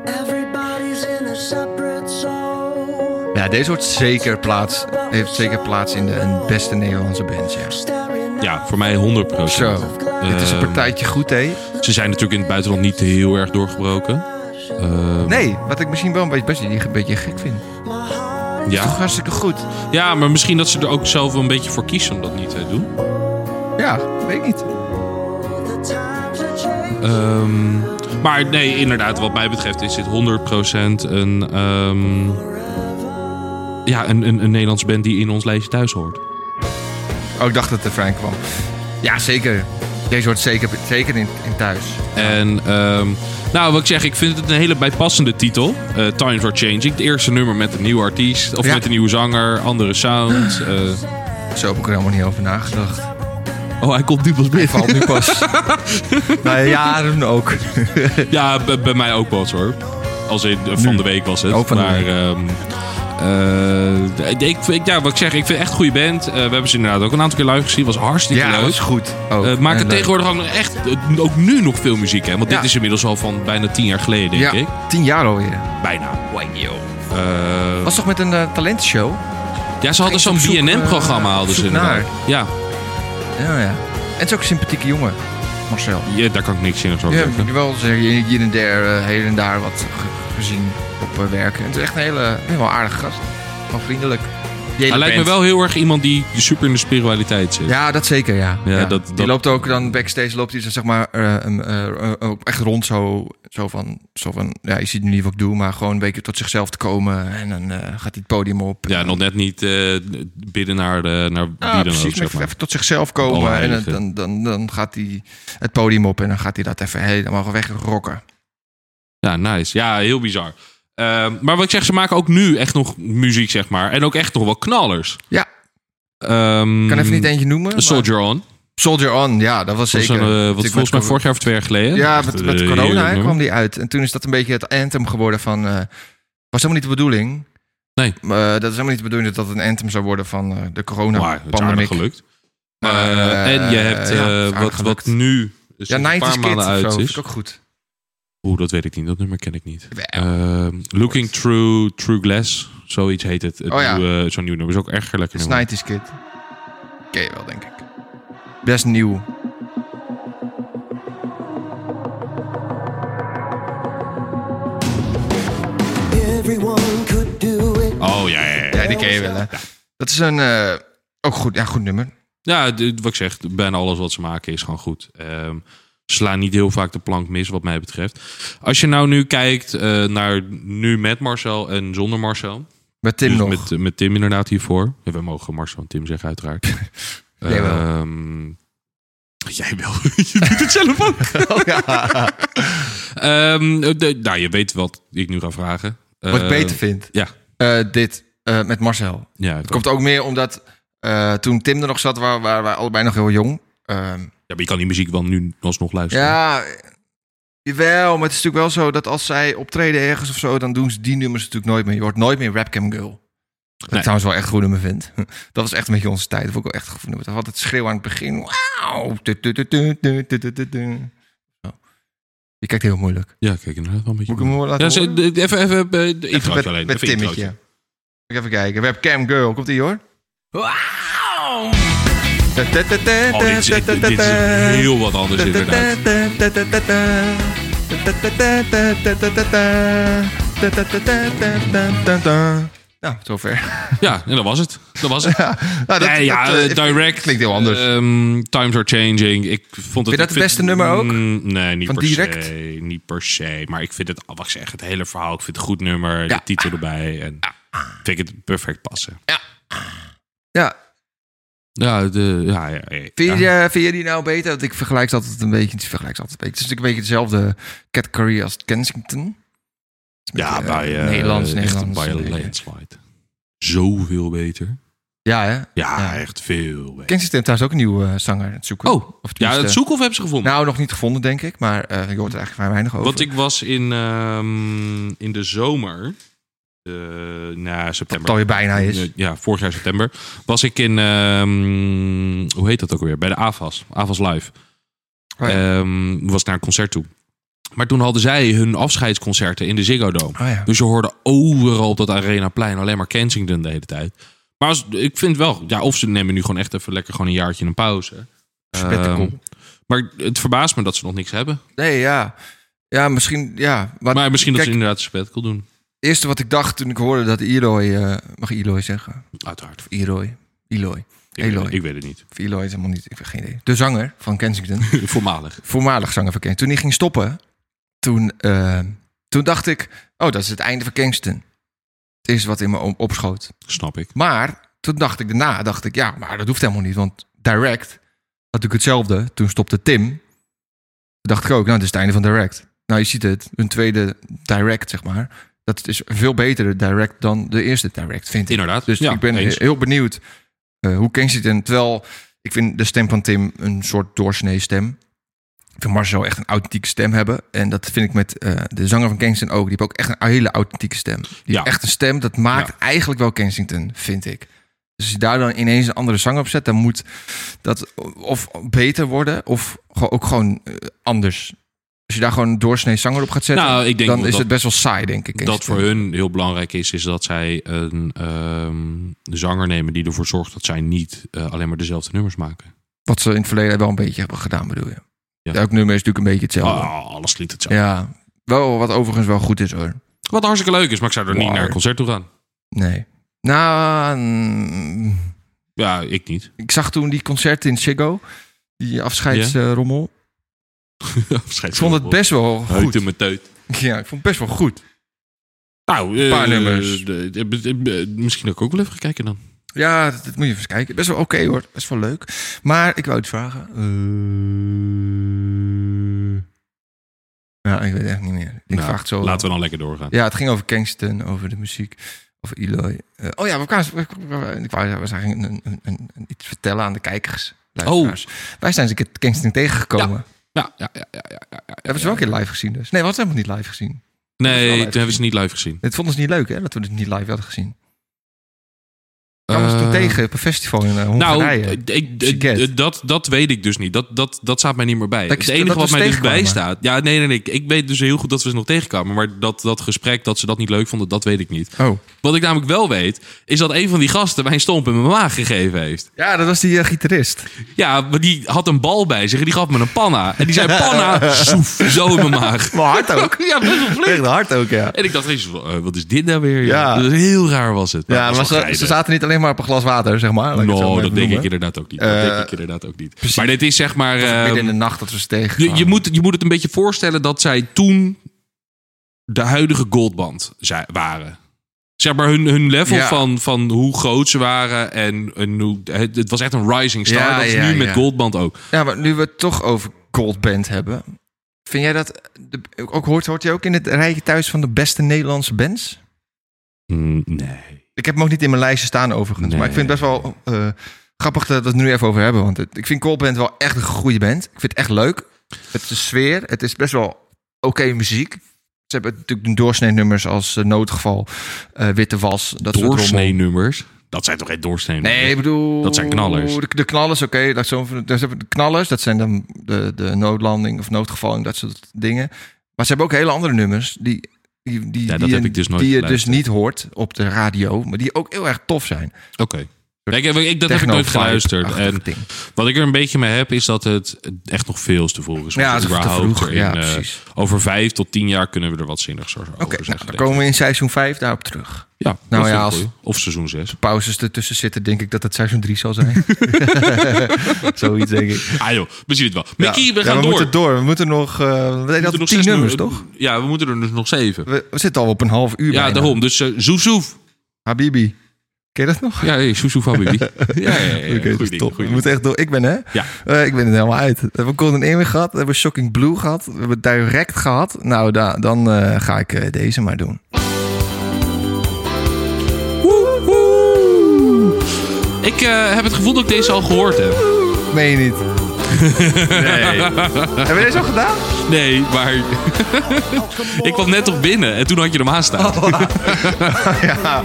S4: Everybody's in a separate soul,
S2: Ja, deze wordt zeker plaats, heeft zeker plaats in de een beste Nederlandse band. Ja.
S4: staring
S1: Ja, voor mij 100%.
S2: Zo, dit is een
S1: Ehm,
S2: partijtje goed, hé.
S1: Ze zijn natuurlijk in het buitenland niet heel erg doorgebroken. Ehm,
S2: Nee, wat ik misschien wel een beetje, best een beetje gek vind. Toch
S1: ja.
S2: hartstikke goed.
S1: ja, maar misschien dat ze er ook zelf wel een beetje voor kiezen om dat niet te doen.
S2: Ja, weet ik niet.
S4: the times are changing.
S1: Ehm, maar nee, inderdaad, wat mij betreft is dit 100% een, ehm, ja, een, een, een Nederlands band die in ons lijstje thuis hoort.
S2: Oh, ik dacht dat de Frank kwam. Ja, zeker. Deze hoort zeker, zeker in, in thuis.
S1: En ehm, nou, wat ik zeg, ik vind het een hele bijpassende titel. Eh, Times Are Changing. Het eerste nummer met een nieuwe artiest. Of
S2: Ja.
S1: met een nieuwe zanger, andere sound. eh.
S2: Zo heb ik er helemaal niet over nagedacht.
S1: oh, hij komt nu pas binnen.
S2: Valt nu pas. Na Nou, jaren ook.
S1: Ja, b- bij mij ook pas hoor. Als in, eh, van de week was het.
S2: Ook Oh, van de
S1: maar,
S2: week.
S1: ehm, eh, ik, ik- ja, wat ik zeg, ik vind het echt een goede band. Eh, we hebben ze inderdaad ook een aantal keer live gezien. was hartstikke
S2: ja, dat
S1: leuk.
S2: is goed. Ook.
S1: Eh, maken
S2: En leuk.
S1: tegenwoordig ook nog echt, eh, ook nu nog veel muziek. Hè? Want
S2: Ja.
S1: dit is inmiddels al van bijna tien jaar geleden, denk
S2: Ja,
S1: ik.
S2: tien jaar alweer.
S1: Bijna. Eh,
S2: Was toch met een eh, talentshow?
S1: ja, ze hadden
S2: ging
S1: zo'n
S2: op zoek,
S1: BNN-programma.
S2: eh,
S1: hadden ze
S2: op zoek
S1: inderdaad. Ja.
S2: Ja, ja. En het is ook een sympathieke jongen, Marcel.
S1: ja, daar kan ik niks zinnigs over
S2: Ja,
S1: zeggen.
S2: moet ik wel zeggen, hier en daar, eh, hier en daar wat ge- gezien op eh, werken. Het is echt een hele, een wel aardige gast. Gewoon vriendelijk. Jelle
S1: Hij lijkt me
S2: band.
S1: wel heel erg iemand die super in de spiritualiteit zit.
S2: Ja, dat zeker, ja.
S1: Ja, dat-
S2: die
S1: dat-
S2: loopt ook dan backstage, loopt hij zo, zeg maar eh, een, eh, eh, ook echt rond zo, zo, van, zo van, ja, je ziet nu niet wat ik doe, maar gewoon een beetje tot zichzelf te komen en dan eh, gaat hij het podium op.
S1: Ja, nog net niet eh, bidden naar, de, naar
S2: Ja,
S1: wie dan
S2: Ah, precies,
S1: ook, zeg
S2: even,
S1: maar.
S2: even tot zichzelf komen en dan,
S1: Allerheilige.
S2: dan, dan, dan gaat hij het podium op en dan gaat hij dat even helemaal wegrokken.
S1: Ja, nice. Ja, heel bizar. Ehm, maar wat ik zeg, ze maken ook nu echt nog muziek, zeg maar. En ook echt nog wel knallers.
S2: Ja,
S1: Ehm,
S2: ik kan even niet eentje noemen. maar-
S1: Soldier On.
S2: Soldier On, ja, dat was
S1: Dat was
S2: zeker. Dus
S1: een, eh, wat
S2: Natuurlijk
S1: volgens mij
S2: met
S1: vorig jaar of twee jaar geleden.
S2: Ja,
S1: Echt,
S2: met,
S1: eh,
S2: met
S1: heerlijk
S2: corona hè,
S1: nummer.
S2: kwam die uit. En toen is dat een beetje het anthem geworden van... eh, was helemaal niet de bedoeling.
S1: Nee.
S2: Eh, dat is helemaal niet de bedoeling dat dat een anthem zou worden van eh, de
S1: maar het is aardig
S2: corona-pandemie.
S1: gelukt.
S2: Maar,
S1: Eh,
S2: eh,
S1: en je hebt eh,
S2: ja, het is aardig
S1: wat, wat
S2: gelukt.
S1: nu dus
S2: Ja,
S1: een
S2: 90s
S1: paar
S2: Kid
S1: maanden
S2: of zo,
S1: uit
S2: vind
S1: is.
S2: ik ook goed.
S1: Oeh, dat weet ik niet. Dat nummer ken ik niet.
S2: Wel.
S1: Ehm, Looking Through True Glass. Zoiets heet het. het
S2: Oh ja.
S1: nieuwe- Zo'n nieuw nummer. Is ook echt een lekker
S2: Het is
S1: nummer.
S2: 90s Kid. Ken je wel, denk ik. Best nieuw.
S4: Everyone could do it.
S1: Oh, ja, ja, ja.
S2: Ja, die ken je wel, hè. Dat is een... eh, ook goed, ja, goed nummer.
S1: Ja, d- wat ik zeg, bijna alles wat ze maken is gewoon goed. Ehm, slaan niet heel vaak de plank mis, wat mij betreft. Als je nou nu kijkt eh, naar nu met Marcel en zonder Marcel.
S2: Met Tim
S1: dus
S2: nog.
S1: Met, met Tim inderdaad hiervoor. Ja, we mogen Marcel en Tim zeggen uiteraard.
S2: Jij wel.
S1: Ehm, jij wel. je doet het zelf ook.
S2: Oh, ja.
S1: Ehm, de- nou, je weet wat ik nu ga vragen.
S2: Wat
S1: Eh,
S2: ik beter vind.
S1: ja.
S2: Eh, dit eh, met Marcel.
S1: Ja,
S2: Het komt ook meer omdat eh, toen Tim er nog zat, waren waren wij allebei nog heel jong. Ehm,
S1: ja, maar je kan die muziek wel nu alsnog luisteren.
S2: ja, jawel, maar het is natuurlijk wel zo dat als zij optreden ergens of zo, dan doen ze die nummers natuurlijk nooit meer. Je hoort nooit meer Rapcam Girl. Dat
S1: Nee.
S2: ik trouwens wel echt een goed nummer vind. Dat was echt een beetje onze tijd. Dat vond ik wel echt een goed nummer. Dat had het schreeuw aan het begin. Wauw. Tu, tu, tu, tu, tu, tu, tu, tu, tu. Zo. Je kijkt heel moeilijk.
S1: Ja, kijk inderdaad wel een beetje.
S2: Moet ik hem horen laten
S1: ja, ze-
S2: horen?
S1: de- de- even, even, eh, de introotje
S2: met,
S1: alleen.
S2: met
S1: Even
S2: Timmetje.
S1: introotje.
S2: Moet ik Even kijken. Webcam girl. Komt die hoor.
S1: Oh, dit, is, dit, dit is heel wat anders inderdaad.
S2: Nou, zover.
S1: Ja, en dat was het. Dat was het.
S2: Nou, dat-
S1: Nee, ja,
S2: dat, eh,
S1: eh, direct.
S2: Klinkt heel anders.
S1: Ehm, times are changing. Ik vond het,
S2: je dat het
S1: ik vind-
S2: beste nummer ook?
S1: Mm, nee, niet
S2: Van
S1: per
S2: Direct?
S1: se. Niet per se. Maar ik vind het, oh, wat ik zeg, het hele verhaal. Ik vind het een goed nummer.
S2: Ja.
S1: De titel erbij. En vind ik het perfect passen.
S2: Ja,
S1: Ja, de, ja, ja, ja.
S2: vind,
S1: Ja.
S2: Je, vind je die nou beter? Want ik vergelijk ze altijd een beetje. Ik vergelijk ze altijd een beetje. Het is natuurlijk een beetje dezelfde categorie als Kensington.
S1: Ja,
S2: eh,
S1: bij eh,
S2: Nederlands,
S1: Echt
S2: Nederlands, eh,
S1: bij een
S2: nee.
S1: landslide. Zoveel beter.
S2: Ja, hè?
S1: Ja,
S2: Ja.
S1: echt veel beter.
S2: Kensington heeft trouwens ook een nieuwe eh, zanger aan het zoeken.
S1: Oh,
S2: of
S1: Ja,
S2: tenminste-
S1: het zoekhof hebben ze gevonden.
S2: Nou, nog niet gevonden, denk ik. Maar eh, je hoort er eigenlijk vrij weinig over.
S1: Want ik was in, ehm, in de zomer, eh na
S2: dat het
S1: september.
S2: alweer bijna is.
S1: Eh, Ja, vorig jaar september. Was ik in, ehm, hoe heet dat ook weer? Bij de AVAS. AVAS Live.
S2: Oh ja.
S1: Ehm, was naar een concert toe. Maar toen hadden zij hun afscheidsconcerten in de Ziggo Dome.
S2: Oh ja.
S1: Dus je hoorde overal op dat Arenaplein alleen maar Kensington de hele tijd. Maar als, ik vind wel, ja, of ze nemen nu gewoon echt even lekker gewoon een jaartje een pauze.
S2: Spectacle.
S1: Ehm, maar het verbaast me dat ze nog niks hebben.
S2: Nee, ja. Ja, misschien, ja. Maar,
S1: maar misschien dat
S2: Ah, kijk,
S1: ze inderdaad een spectacle doen.
S2: het eerste wat ik dacht toen ik hoorde dat Eloy... eh, mag ik Eloy zeggen?
S1: Uiteraard. Ik,
S2: Eloy. Eloy.
S1: weet
S2: Eloy.
S1: het- ik weet het niet.
S2: Of Eloy is helemaal niet... Ik heb geen idee. De zanger van Kensington.
S1: Voormalig.
S2: voormalig zanger van Kensington. Toen hij ging stoppen, toen, eh, toen dacht ik... Oh, dat is het einde van Kensington. Het is wat in me op- opschoot.
S1: Snap ik.
S2: Maar toen dacht ik daarna, dacht ik, ja, maar dat hoeft helemaal niet. Want Direct had natuurlijk hetzelfde. Toen stopte Tim. Toen dacht ik ook, nou, dit is het einde van Direct. Nou, je ziet het, een tweede Direct, zeg maar. Dat is een veel betere Direct dan de eerste Direct, vind ik.
S1: Inderdaad.
S2: Dus
S1: Ja,
S2: ik ben
S1: eens.
S2: heel benieuwd eh, hoe Kensington... Terwijl ik vind de stem van Tim een soort doorsnee stem. Ik vind Marcel echt een authentieke stem hebben. En dat vind ik met eh, de zanger van Kensington ook. Die heeft ook echt een hele authentieke stem. Die
S1: Ja.
S2: heeft echt een stem, dat maakt
S1: Ja.
S2: eigenlijk wel Kensington, vind ik. Dus als je daar dan ineens een andere zanger op zet... dan moet dat of beter worden of ge- ook gewoon eh, anders. Als je daar gewoon een doorsnee zanger op gaat zetten...
S1: Nou, ik denk
S2: dan
S1: dat-
S2: is het best wel saai, denk ik.
S1: dat
S2: Kensington.
S1: voor hun heel belangrijk is, is dat zij een ehm, zanger nemen die ervoor zorgt dat zij niet eh, alleen maar dezelfde nummers maken.
S2: Wat ze in het verleden wel een beetje hebben gedaan, bedoel je?
S1: Ja.
S2: Elk nummer is natuurlijk een beetje hetzelfde.
S1: Ah, alles liet het zo.
S2: Ja, wel wat overigens wel goed is hoor.
S1: Wat hartstikke leuk is, maar ik zou er niet
S2: Waar.
S1: naar een concert toe gaan.
S2: Nee. Nou, mm,
S1: Ja, ik niet.
S2: ik zag toen die concerten in Chicago. Die afscheidsrommel. Ik vond het best wel
S1: goed.
S2: goed.
S1: mijn teut.
S2: Ja, ik vond het best wel goed.
S1: Nou, eh,
S2: Paar nummers.
S1: de- de- de- de- misschien dat ik ook wel even ga kijken dan.
S2: Ja, dat, dat moet je even kijken. Best wel oké hoor. Best wel leuk. Maar ik wou iets vragen. Eh, Ja, ik weet het echt niet meer. Ik
S1: Nou,
S2: vraag het zo.
S1: Laten we dan lekker doorgaan.
S2: Ja, het ging over Kingston, over de muziek, over Eloy. Eh, oh ja, we kwamen, we- we- we- ik wou we zagen een, een, een, een- iets vertellen aan de kijkers. Luisteraars. Wij zijn eens een keer Kingston tegengekomen.
S1: Oh, Ja, ja, ja, ja, ja.
S2: hebben ze wel een keer live gezien dus. Nee, we hadden ze helemaal niet live gezien.
S1: Nee,
S2: live
S1: toen hebben ze
S2: gezien.
S1: niet live gezien.
S2: Het vonden ze niet leuk hè, dat we het niet live hadden gezien. Kwamen ze toen
S1: Eh,
S2: tegen op een festival in eh,
S1: Nou,
S2: Hongarije.
S1: d- ik, d-
S2: Siget.
S1: d- dat, dat weet ik dus niet. Dat, dat, dat staat mij niet meer bij.
S2: Dat ik
S1: het
S2: ze-
S1: enige
S2: dat we
S1: wat
S2: ze
S1: mij dus
S2: tegenkwamen.
S1: bijstaat. Ja, nee, nee, nee. Ik- Ik weet dus heel goed dat we ze nog tegenkwamen. Maar dat, dat gesprek, dat ze dat niet leuk vonden, dat weet ik niet.
S2: Oh.
S1: Wat ik namelijk wel weet, is dat een van die gasten mij een stomp in mijn maag gegeven heeft.
S2: Ja, dat was die eh, gitarist.
S1: Ja, maar die had een bal bij zich en die gaf me een panna. En die zei, panna, soef, zo in mijn maag.
S2: Maar hard ook.
S1: Ja, best wel flink.
S2: Tegen de hart ook, ja.
S1: En ik dacht, jezus, eh, wat is dit nou weer? joh?
S2: Ja.
S1: Dat is heel raar was het.
S2: Ja, maar ze,
S1: ze
S2: ze zaten niet alleen zeg maar op een glas water, zeg maar. laat ik het zo maar
S1: No,
S2: even
S1: dat denk ik
S2: noemen.
S1: inderdaad ook niet. Dat
S2: Eh,
S1: denk ik inderdaad ook niet. Maar dit is zeg maar...
S2: Midden in
S1: ehm,
S2: de nacht dat we ze tegen.
S1: je, je, moet, je moet het een beetje voorstellen dat zij toen de huidige goldband zij, waren. Zeg maar hun, hun level
S2: Ja.
S1: van, van hoe groot ze waren. En, en hoe, het, het was echt een rising star.
S2: Ja,
S1: dat is
S2: ja,
S1: nu met
S2: ja.
S1: goldband ook.
S2: Ja, maar nu we het toch over Goldband hebben. Vind jij dat... de- ook hoort, hoort hij ook in het rijtje thuis van de beste Nederlandse bands?
S1: Mm, nee.
S2: Ik heb hem ook niet in mijn lijstje staan overigens. Maar ik vind het best wel eh, grappig dat we het nu even over hebben. Want het- ik vind Coldband wel echt een goede band. Ik vind het echt leuk. Het is de sfeer. Het is best wel oké muziek. Ze hebben natuurlijk doorsnee-nummers als eh, Noodgeval, eh, Witte Was. Dat soort rommel.
S1: Doorsnee-nummers. Dat zijn toch geen doorsnee-nummers?
S2: Nee, ik bedoel...
S1: Dat zijn knallers.
S2: De, de knallers, oké. laat ik zo even- dus hebben we de knallers, dat zijn dan de, de noodlanding of noodgevallen, dat soort dingen. Maar ze hebben ook hele andere nummers die, die, die,
S1: Ja, dat
S2: die,
S1: heb ik dus nooit
S2: die je dus
S1: geluisterd.
S2: niet hoort op de radio. Maar die ook heel erg tof zijn.
S1: Oké. Nee, ik, heb- ik- dat heb ik nooit
S2: Techno-vibe-achtig
S1: geluisterd. En
S2: ding.
S1: wat ik er een beetje mee heb, is dat het echt nog veel te vroeg is. om
S2: Ja, het is te
S1: überhaupt
S2: vroeg.
S1: erin,
S2: Ja,
S1: eh,
S2: precies.
S1: over vijf tot tien jaar kunnen we er wat zinnigs over
S2: Oké,
S1: zeggen.
S2: nou, dan
S1: denk ik.
S2: komen we in seizoen 5 daarop terug.
S1: Ja, dat
S2: Nou
S1: vind
S2: ja,
S1: ik
S2: als-
S1: goed. Of seizoen 6.
S2: Pauzes ertussen zitten, denk ik dat het seizoen 3 zal zijn. Zoiets denk ik.
S1: Ah joh, we zien het wel. Mickey,
S2: Ja,
S1: we
S2: ja,
S1: gaan
S2: we
S1: door.
S2: moeten door. We moeten nog... eh we deden
S1: We moeten nog
S2: altijd 10
S1: zes
S2: nummers,
S1: nu-
S2: toch?
S1: Ja, we moeten er dus nog zeven.
S2: We, we zitten al op een half uur
S1: ja,
S2: bijna.
S1: daarom. Dus eh, zoef zoef.
S2: Habibi. Ken je dat nog?
S1: Ja, hey, zoef zoef habibi. ja, ja, ja. ja.
S2: Oké,
S1: Goed
S2: dat is
S1: ding,
S2: top.
S1: goed
S2: We
S1: ding.
S2: moeten echt door. Ik ben hè?
S1: Ja.
S2: Eh, ik ben het helemaal uit. We hebben Golden Earring gehad. We hebben Shocking Blue gehad. We hebben Direct gehad. Nou, da- dan eh, ga ik eh, deze maar doen.
S1: Woehoe. Ik eh, heb het gevoel dat ik deze al gehoord heb.
S2: Meen je niet? Nee. Hebben we deze al gedaan?
S1: Nee, maar ik kwam net nog binnen en toen had je hem aanstaan.
S2: Ja.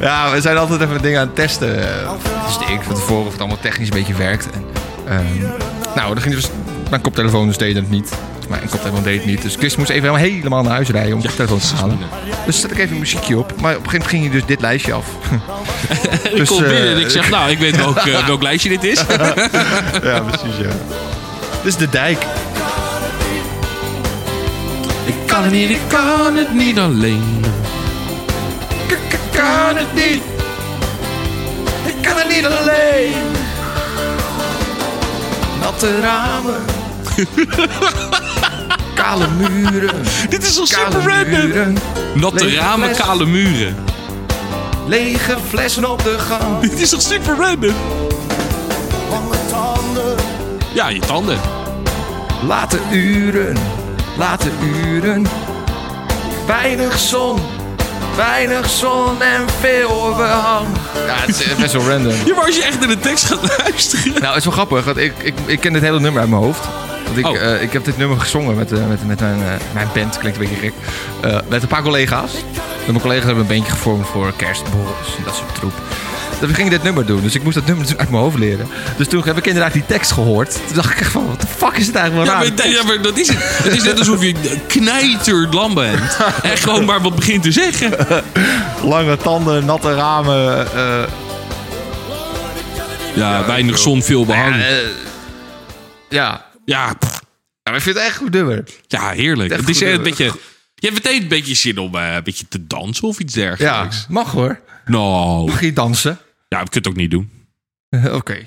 S2: ja, we zijn altijd even dingen aan het testen. eh, Dus ik van tevoren of het allemaal technisch een beetje werkt. En, ehm, nou, dan ging dus mijn koptelefoon dus deed het niet. Maar een koptelefoon deed het niet. Dus Chris moest even helemaal, helemaal naar huis rijden om de telefoon te halen. Dus zet ik even een muziekje op. Maar op een gegeven moment ging je dus dit lijstje af.
S1: ik
S2: Dus,
S1: kom binnen en
S2: eh,
S1: ik zeg, nou, ik weet welk, eh, welk lijstje dit is.
S2: Ja, precies, ja. Dit is de dijk.
S1: ik kan het niet, ik kan het niet alleen.
S2: Kan het niet. Ik kan het niet alleen. Natte ramen. Kale muren.
S1: Dit is al super
S2: Kale
S1: random.
S2: muren.
S1: Natte
S2: Lege
S1: ramen,
S2: fles.
S1: kale muren.
S2: Lege flessen op de gang.
S1: Dit is toch super random?
S4: Lange tanden.
S1: Ja, je tanden.
S2: Late uren. Late uren. Weinig zon. Weinig zon en veel overhang. Ja, het is eh, best wel random.
S1: Ja, maar als je echt naar de tekst gaat luisteren.
S2: Nou, het is wel grappig, want ik, ik, ik ken dit hele nummer uit mijn hoofd. Want ik,
S1: Oh.
S2: eh, ik heb dit nummer gezongen met, eh, met, met mijn, eh, mijn band, klinkt een beetje gek. Eh, met een paar collega's. En mijn collega's hebben een bandje gevormd voor kerstborrels en dat soort troep. Dus we gingen dit nummer doen, dus ik moest dat nummer uit mijn hoofd leren. Dus toen heb ik inderdaad die tekst gehoord. Toen dacht ik echt van, wat de fuck is het eigenlijk
S1: Ja
S2: wel
S1: maar, ja, maar dat is het. Het is net alsof je knijterlam bent. En gewoon maar wat begint te zeggen.
S2: Lange tanden, natte ramen.
S1: Ja, weinig zon, veel behang.
S2: eh, ja,
S1: Ja, pff,
S2: maar ik vind het echt goed nummer.
S1: ja heerlijk.
S2: Echt
S1: Het is
S2: goed, eh,
S1: echt
S2: hè?
S1: een beetje... Je hebt meteen een beetje zin om eh, een beetje te dansen of iets
S2: Ja,
S1: dergelijks.
S2: mag hoor.
S1: Nou,
S2: Mag je dansen?
S1: ja, we kunnen het ook niet doen.
S2: Oké.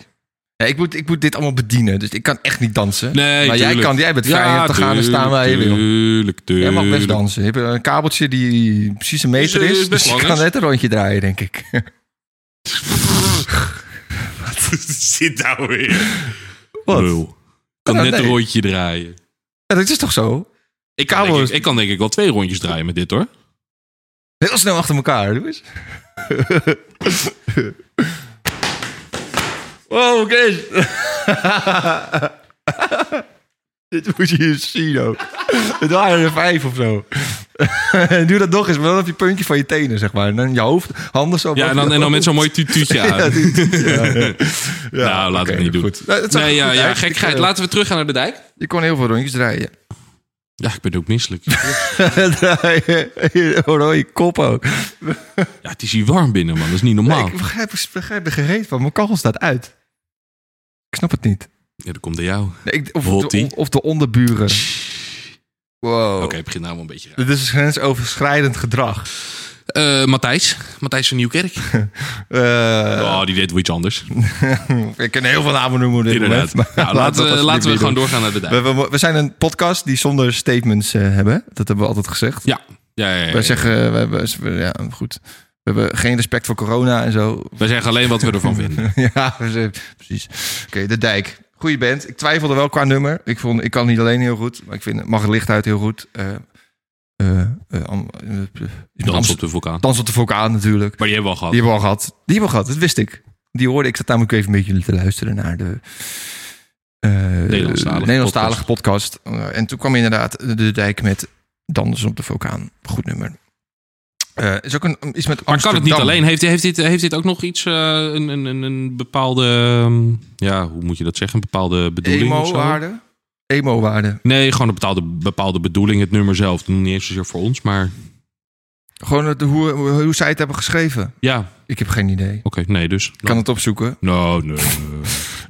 S2: Ja, ik, moet, ik moet dit allemaal bedienen, dus ik kan echt niet dansen.
S1: Nee,
S2: maar jij
S1: tuurlijk.
S2: kan, jij bent
S1: Ja,
S2: vrij om te gaan en staan waar je wil.
S1: Tuurlijk,
S2: Jij
S1: tuurlijk.
S2: mag best dansen. Je hebt een kabeltje die precies een meter
S1: Is, eh,
S2: is,
S1: is best
S2: dus je
S1: lang,
S2: kan
S1: hè?
S2: net een rondje draaien, denk ik.
S1: Zit nou weer.
S2: Wat?
S1: Lul. Kan
S2: Ja,
S1: net een
S2: Oh, nee.
S1: rondje draaien.
S2: Ja, dat is toch zo?
S1: Ik kan,
S2: Kabel
S1: denk ik,
S2: is-
S1: ik kan denk ik wel twee rondjes draaien met dit hoor.
S2: Heel snel achter elkaar, doe eens. wow, Chris. Dit moet je eens zien ook. Het waren er vijf of zo. Doe dat nog eens, maar dan op je puntje van je tenen, zeg maar. En dan je hoofd, handen zo.
S1: Ja, en dan, en dan met zo'n mooi tutuutje aan. nou, laten we
S2: oké,
S1: het niet doen.
S2: goed. Nou, het zag
S1: nee,
S2: er
S1: ja,
S2: goed
S1: ja,
S2: uit. Ik,
S1: gekheid.
S2: eh,
S1: Laten we terug gaan naar de dijk.
S2: Je kon heel veel rondjes draaien.
S1: Ja, ik ben ook misselijk.
S2: draaien. Rode kop ook.
S1: Ja, het is hier warm binnen, man. Dat is niet normaal.
S2: ik begrijp, ik begrijp er gereed van. Mijn kachel staat uit. Ik snap het niet.
S1: Ja, dat komt door jou. Oké,
S2: Nee, ik- of,
S1: Rotti.
S2: de, of de onderburen. Wow.
S1: het begint nou wel een beetje raar.
S2: Dit is grensoverschrijdend gedrag.
S1: eh, Matthijs. Matthijs van Nieuwkerk.
S2: Eh,
S1: oh, die deed wel iets anders.
S2: ik kan heel veel namen noemen. op Dit
S1: Inderdaad.
S2: moment, maar
S1: Nou, laten we,
S2: dat alsjeblieft
S1: laten we
S2: niet
S1: gewoon
S2: doen.
S1: doorgaan naar de dijk.
S2: We, we, we zijn een podcast die zonder statements eh, hebben. Dat hebben we altijd gezegd.
S1: Ja. Ja, ja, ja, ja.
S2: Wij zeggen, we hebben, we- ja, goed. We hebben geen respect voor corona en zo.
S1: Wij zeggen alleen wat we ervan vinden.
S2: ja, we zijn- precies. Oké, De Dijk. Goeie band. Ik twijfelde wel qua nummer. Ik, vond, ik kan niet alleen heel goed, maar ik vind Mag het Licht uit heel goed. Eh, eh, eh, Am- eh, eh,
S1: Dans
S2: Amst-
S1: op de vulkaan.
S2: Dans op de Vulkaan natuurlijk.
S1: Maar die hebben we al
S2: Die
S1: gehad.
S2: hebben we al gehad. Die hebben we al gehad, dat wist ik. Die hoorde ik. Zat namelijk even met jullie te luisteren naar de... eh,
S1: Nederlandstalige
S2: Nederlandstalige podcast. Eh, En toen kwam inderdaad De Dijk met Dans op de Vulkaan. Goed nummer. Eh, is ook een, iets
S1: Maar
S2: met
S1: kan het niet
S2: Amsterdam.
S1: alleen? Heeft, heeft, dit, heeft dit ook nog iets, eh, een, een, een, een bepaalde, ehm, ja, hoe moet je dat zeggen? Een bepaalde bedoeling of zo?
S2: Emo-waarde? Emo-waarde.
S1: Nee, gewoon een bepaalde, bepaalde bedoeling, het nummer zelf. Niet eens zozeer voor ons, maar
S2: Gewoon het, hoe, hoe, hoe zij het hebben geschreven.
S1: ja, oké,
S2: Ik heb geen idee.
S1: nee, dus.
S2: Ik kan het opzoeken.
S1: No, nee.